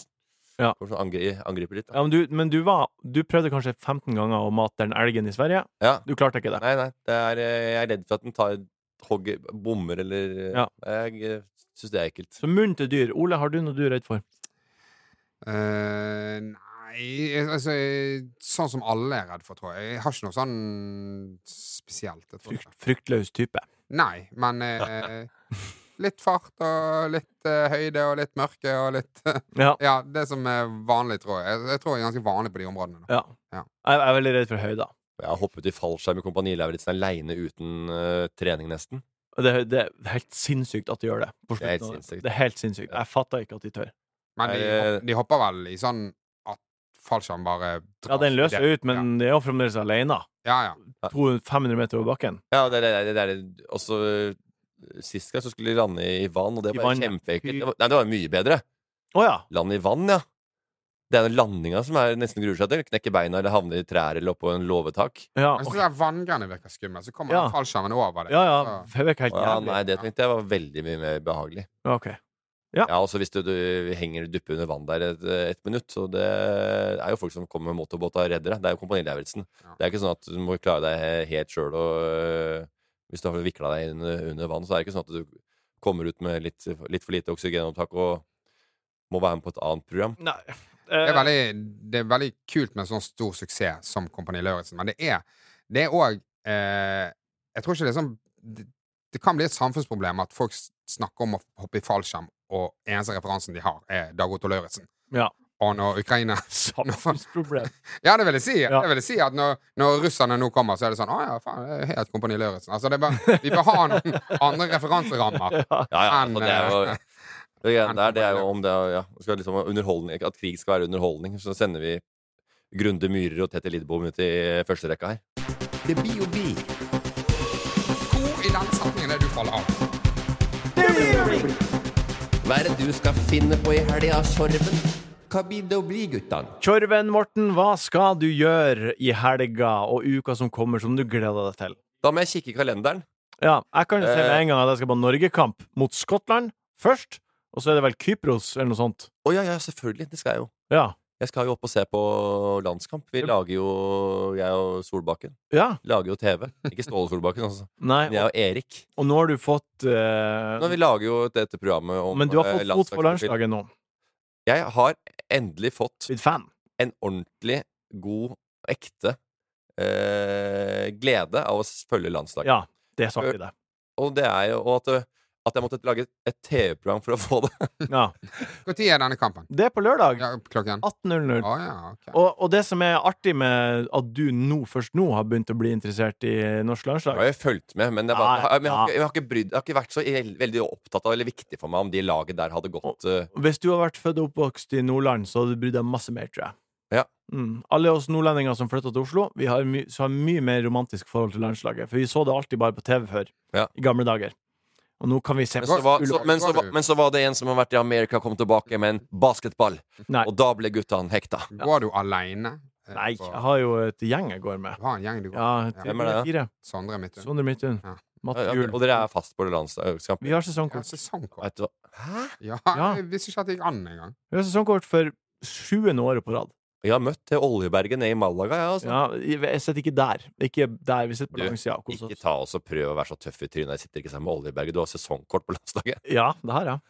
[SPEAKER 2] Ja.
[SPEAKER 5] Kommer sånn angri, angriper litt. da.
[SPEAKER 2] Ja, men du, men du, var, du prøvde kanskje 15 ganger å mate den elgen i Sverige.
[SPEAKER 5] Ja.
[SPEAKER 2] Du klarte ikke det.
[SPEAKER 5] Nei, nei. Det er, eh, jeg er redd for at den tar hogger, bommer eller eh,
[SPEAKER 2] Ja.
[SPEAKER 5] Jeg syns det er ekkelt.
[SPEAKER 2] Så munn til dyr. Ole, har du noe du er redd for?
[SPEAKER 4] Eh, nei altså, eh, Sånn som alle er redd for, tror jeg. Jeg har ikke noe sånn spesielt. Jeg tror
[SPEAKER 2] Frykt,
[SPEAKER 4] ikke.
[SPEAKER 2] fryktløs type.
[SPEAKER 4] Nei, men eh, litt fart og litt eh, høyde og litt mørke og litt
[SPEAKER 2] Ja.
[SPEAKER 4] Ja, det som er vanlig, tror jeg. Jeg, jeg tror jeg er ganske vanlig på de områdene. Da.
[SPEAKER 2] ja.
[SPEAKER 4] Ja.
[SPEAKER 2] Jeg jeg er veldig redd for høyder.
[SPEAKER 5] Jeg har hoppet i fallskjerm i Kompani Lauritzen sånn aleine uten eh, trening, nesten.
[SPEAKER 2] Og det, det er helt sinnssykt at de gjør det. på
[SPEAKER 5] Det er helt
[SPEAKER 2] slutten av det.
[SPEAKER 5] sinnssykt.
[SPEAKER 2] Det er helt sinnssykt. Jeg fatter ikke at de tør.
[SPEAKER 4] Men de,
[SPEAKER 5] Eh,
[SPEAKER 4] hop- de hopper vel i sånn at fallskjermen bare
[SPEAKER 2] Ja, den løser
[SPEAKER 4] det-
[SPEAKER 2] jo ut, men Ah, det er jo fremdeles alene.
[SPEAKER 4] Ja, ja.
[SPEAKER 2] 200-500 meter over bakken.
[SPEAKER 5] Ja, det, det, det, det er også eh, Sist gang så skulle de lande i vann, og det
[SPEAKER 2] I
[SPEAKER 5] var
[SPEAKER 2] vann, ja.
[SPEAKER 5] kjempeekkelt. Det var- Nei, det var mye bedre.
[SPEAKER 2] Å ja.
[SPEAKER 5] Land i vann, ja. Det er den landinga som er nesten gruer seg til. Knekke beina eller havne i trær eller oppå en låvetak.
[SPEAKER 2] Ja,
[SPEAKER 4] Men
[SPEAKER 2] ok.
[SPEAKER 4] så der vanngreiene virker skumle, så kommer
[SPEAKER 2] Ja.
[SPEAKER 4] den fallskjermen over det.
[SPEAKER 2] ja. ja.
[SPEAKER 4] Så-
[SPEAKER 2] Det virker helt
[SPEAKER 5] Å Ja,
[SPEAKER 2] jævlig.
[SPEAKER 5] nei, det tenkte jeg var veldig mye mer behagelig.
[SPEAKER 2] Ja, ok.
[SPEAKER 5] Ja, også hvis du, du henger duppe under vann der et, et minutt, så det er jo folk som kommer med motorbåt og redder deg. Det er jo Kompani Lauritzen.
[SPEAKER 4] Ja.
[SPEAKER 5] Det er ikke sånn at du må klare deg he- helt sjøl og øh, Hvis du har vikla deg inn under vann, så er det ikke sånn at du kommer ut med litt, litt for lite oksygenopptak og må være med på et annet program.
[SPEAKER 2] Nei.
[SPEAKER 4] Det, er
[SPEAKER 2] Eh,
[SPEAKER 4] veldig, det er veldig kult med en sånn stor suksess som Kompani Lauritzen, men det er Det er òg eh, Jeg tror ikke det er sånn det, det kan bli et samfunnsproblem at folk s- snakker om å hoppe i fallskjerm, og eneste referansen de har, er Dag Otto Lauritzen.
[SPEAKER 2] Ja.
[SPEAKER 4] Og når Ukraina
[SPEAKER 2] Samfunnsproblem.
[SPEAKER 4] Ja, det vil jeg si.
[SPEAKER 2] Ja.
[SPEAKER 4] Det vil jeg si at når, når russerne nå kommer, så er det sånn Å ja, faen, det er helt Kompani Lauritzen. Altså, det er bare, vi bør ha noen andre referanserammer.
[SPEAKER 5] Ja, ja,
[SPEAKER 4] Men,
[SPEAKER 5] altså, det er jo
[SPEAKER 4] eh,
[SPEAKER 5] det greiene
[SPEAKER 4] men
[SPEAKER 5] der, det er jo
[SPEAKER 4] Kompani
[SPEAKER 5] om det er, ja, det skal liksom være underholdning, At krig skal være underholdning, så sender vi Grunde Myhrer og Tete Lidbom ut i første rekka her.
[SPEAKER 3] Det blir jo bil.
[SPEAKER 4] Hvor i den setningen er det du faller av?
[SPEAKER 3] Hva er det du skal finne på i helga, Sorven? Hva blir det å bli, guttan?
[SPEAKER 2] Tjorven Morten, hva skal du gjøre i helga og uka som kommer, som du gleder deg til?
[SPEAKER 5] Da må jeg kikke i kalenderen.
[SPEAKER 2] Ja, jeg kan jo se
[SPEAKER 5] Eh.
[SPEAKER 2] med en gang at jeg skal på Norgekamp mot Skottland først, og så er det vel Kypros eller noe sånt.
[SPEAKER 5] Å ja, ja, selvfølgelig. Det skal jeg jo.
[SPEAKER 2] Ja.
[SPEAKER 5] Jeg skal jo opp og se på landskamp. Vi
[SPEAKER 2] Ja.
[SPEAKER 5] lager jo, jeg og Solbakken,
[SPEAKER 2] ja.
[SPEAKER 5] lager jo TV. Ikke Ståle Solbakken, altså.
[SPEAKER 2] Nei,
[SPEAKER 5] Men jeg og Erik.
[SPEAKER 2] og, og nå har du fått eh,
[SPEAKER 5] Nå, vi lager jo dette programmet om
[SPEAKER 2] Men du har
[SPEAKER 5] eh,
[SPEAKER 2] fått fot for
[SPEAKER 5] landslagsprofil.
[SPEAKER 2] landslaget nå.
[SPEAKER 5] Jeg har endelig fått
[SPEAKER 2] Blitt fan.
[SPEAKER 5] en ordentlig god, ekte eh, glede av å følge landslaget.
[SPEAKER 2] Ja, det sa vi det.
[SPEAKER 5] Og det er jo og at, eh, at jeg måtte lage et, et TV-program for å få det.
[SPEAKER 2] Ja.
[SPEAKER 4] Når er denne kampen?
[SPEAKER 2] Det er på lørdag.
[SPEAKER 4] Ja, klokken? Å
[SPEAKER 2] 18.00.
[SPEAKER 4] ja, ok.
[SPEAKER 2] Og, og det som er artig med at du nå, først nå har begynt å bli interessert i norsk
[SPEAKER 5] Jeg
[SPEAKER 2] landslag
[SPEAKER 5] har jo fulgt med, men det var,
[SPEAKER 2] Ja, ja.
[SPEAKER 5] men jeg, har, ikke- jeg, har ikke brydd, jeg har ikke vært så el- veldig opptatt av eller viktig for meg om de laget der hadde gått eh,
[SPEAKER 2] Hvis du har vært født og oppvokst i Nordland, så hadde du brydd deg masse mer, tror jeg.
[SPEAKER 5] Ja.
[SPEAKER 2] Mm. Alle oss nordlendinger som flytta til Oslo, vi har, my så har mye mer romantisk forhold til landslaget. For vi så det alltid bare på TV før.
[SPEAKER 5] Ja.
[SPEAKER 2] I gamle dager. Og nå kan vi se
[SPEAKER 5] men så, var, så,
[SPEAKER 4] Ullevål.
[SPEAKER 5] men, så, var- men så var det en som har vært i Amerika, kom tilbake med en basketball.
[SPEAKER 2] Nei.
[SPEAKER 5] Og da ble guttene hekta.
[SPEAKER 4] Går du aleine?
[SPEAKER 2] Nei, jeg har jo et gjeng jeg går med.
[SPEAKER 4] Du har en gjeng du går
[SPEAKER 2] Ja,
[SPEAKER 5] Hvem er det?
[SPEAKER 2] fire.
[SPEAKER 4] Sondre Midtun.
[SPEAKER 2] Sondre Midtun.
[SPEAKER 4] Ja.
[SPEAKER 2] Mats
[SPEAKER 5] Ja, ja,
[SPEAKER 2] Juel.
[SPEAKER 5] Og dere er fast på det landslagskamp.
[SPEAKER 2] Vi har
[SPEAKER 4] Ja,
[SPEAKER 2] sesongkort.
[SPEAKER 4] sesongkort.
[SPEAKER 5] Vet du hva? Hæ?
[SPEAKER 4] Ja,
[SPEAKER 2] Ja.
[SPEAKER 4] jeg visste ikke at det gikk an engang.
[SPEAKER 2] Vi har sesongkort for sjuende året på rad.
[SPEAKER 5] Jeg har møtt det Oljeberget nede i Malaga, jeg, altså.
[SPEAKER 2] Ja, jeg sitter ikke der. Ikke der vi sitter på
[SPEAKER 5] Du,
[SPEAKER 2] langsida. og koser
[SPEAKER 5] Ikke
[SPEAKER 2] oss.
[SPEAKER 5] ta oss og prøv å være så tøff i trynet. Jeg sitter ikke sammen med Oljeberget. Du har sesongkort på landslaget.
[SPEAKER 2] Ja, det her, ja.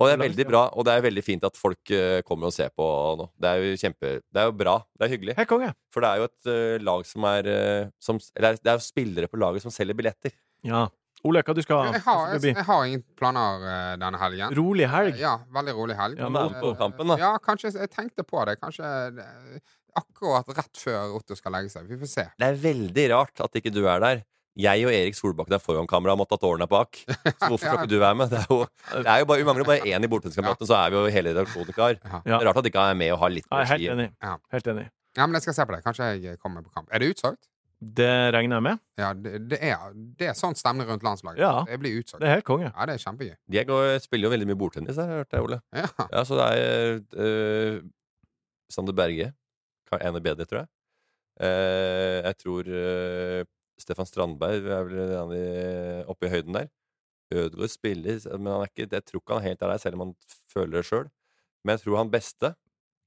[SPEAKER 5] Og det er veldig bra, og det er veldig fint at folk eh, kommer og ser på nå. Det er jo kjempe Det er jo bra. Det er hyggelig.
[SPEAKER 2] Hei, konge.
[SPEAKER 5] For det er jo et eh, lag som er eh, som, Eller det er jo spillere på laget som selger billetter.
[SPEAKER 2] Ja. Ole, hva du skal hva
[SPEAKER 4] Jeg har,
[SPEAKER 2] skal
[SPEAKER 4] jeg,
[SPEAKER 2] det bli?
[SPEAKER 4] jeg har ingen planer eh, denne helgen.
[SPEAKER 2] Rolig helg.
[SPEAKER 4] Ja, veldig rolig helg.
[SPEAKER 2] Ja,
[SPEAKER 5] Med
[SPEAKER 2] men-
[SPEAKER 5] Otto-kampen, da.
[SPEAKER 4] Mm. Ja, kanskje Jeg tenkte på det. Kanskje eh, akkurat rett før Otto skal legge seg. Vi får se.
[SPEAKER 5] Det er veldig rart at ikke du er der. Jeg og Erik Solbakken er foran kamera, og Matatoren er bak. Så hvorfor skal ikke du være med? Det er jo, det er jo bare, vi mangler bare én i bortenskampene, så er vi jo hele redaksjonen klar.
[SPEAKER 4] Ja.
[SPEAKER 5] Det er rart at ikke han er med og har litt
[SPEAKER 2] Ja, jeg er helt
[SPEAKER 5] energi.
[SPEAKER 2] enig.
[SPEAKER 4] Ja.
[SPEAKER 2] Helt enig.
[SPEAKER 4] Ja, men jeg skal se på det. Kanskje jeg eh, kommer på kamp. Er det utsolgt?
[SPEAKER 2] Det regner jeg med.
[SPEAKER 4] Ja, det, det er det er sånn stemning rundt landslaget.
[SPEAKER 2] Ja.
[SPEAKER 4] Jeg blir utsolgt.
[SPEAKER 2] Det er helt konge.
[SPEAKER 4] Ja, det er kjempegøy.
[SPEAKER 5] De går, spiller jo veldig mye bordtennis, har jeg hørt det, Ole.
[SPEAKER 4] Ja.
[SPEAKER 5] Ja, så det er eh, Sander Berge. kan- En er bedre, tror jeg. Eh, jeg tror eh, Stefan Strandberg er vel den i- oppe i høyden der. Ødegaard spiller, men han er ikke, jeg tror ikke han helt er der, selv om han føler det sjøl. Men jeg tror han beste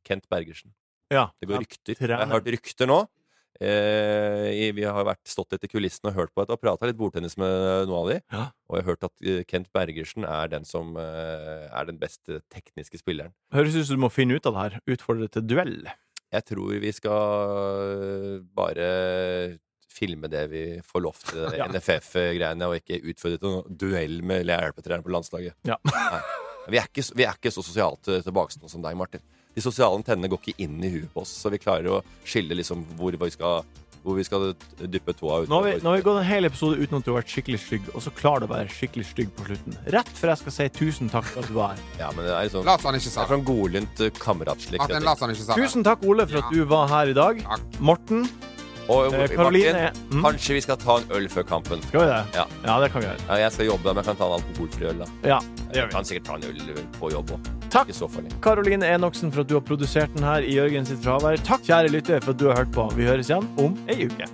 [SPEAKER 5] Kent Bergersen.
[SPEAKER 2] Ja.
[SPEAKER 5] Det går rykter. Jeg har
[SPEAKER 2] trener.
[SPEAKER 5] hørt rykter nå. Eh, i- vi har vært stått litt i kulissene og hørt på dette og prata litt bordtennis med eh, noen av de.
[SPEAKER 2] Ja.
[SPEAKER 5] Og jeg har hørt at eh, Kent Bergersen er den som eh, er den beste tekniske spilleren.
[SPEAKER 2] Høres ut som du må finne ut av det her. Utfordre til duell.
[SPEAKER 5] Jeg tror vi skal øh, bare filme det vi får lov til, det
[SPEAKER 2] Ja.
[SPEAKER 5] NFF-greiene, og ikke utfordre til noen duell med hjelpetreeren på landslaget.
[SPEAKER 2] Ja.
[SPEAKER 5] Nei. Vi, er ikke, så- vi er ikke så sosialt eh, tilbakestående som deg, Martin. De sosiale antennene går ikke inn i huet på oss, så vi klarer å skille liksom hvor vi skal, hvor vi skal dyppe tåa ut.
[SPEAKER 2] Nå har, vi, nå har vi gått en hel episode uten at du har vært skikkelig stygg, og så klarer du å være skikkelig stygg på slutten. Rett før jeg skal si tusen takk for at du var her.
[SPEAKER 5] Ja, men det er sånn, det
[SPEAKER 4] Lat som han ikke sa
[SPEAKER 5] er
[SPEAKER 4] det.
[SPEAKER 5] sånn godlynt eh, kameratslig.
[SPEAKER 4] At en
[SPEAKER 5] kreativ-
[SPEAKER 4] lat som han ikke sa det.
[SPEAKER 2] Tusen takk, Ole, for at du var her i dag.
[SPEAKER 4] Takk.
[SPEAKER 2] Morten,
[SPEAKER 5] Og
[SPEAKER 2] eh,
[SPEAKER 5] Martin,
[SPEAKER 2] Karoline mm,
[SPEAKER 5] kanskje vi skal ta en øl før kampen.
[SPEAKER 2] Skal vi det?
[SPEAKER 5] Ja.
[SPEAKER 2] ja, det kan vi gjøre.
[SPEAKER 5] Ja, jeg skal jobbe, men jeg kan ta en alkoholfri øl, da.
[SPEAKER 2] Ja, det
[SPEAKER 5] Jeg
[SPEAKER 2] gjør vi.
[SPEAKER 5] kan sikkert ta en øl på jobb òg.
[SPEAKER 2] Takk.
[SPEAKER 5] I så fall.
[SPEAKER 2] Karoline Enoksen for at du har produsert den her i Jørgen sitt fravær. Takk, kjære lytter, for at du har hørt på. Vi høres igjen om ei uke.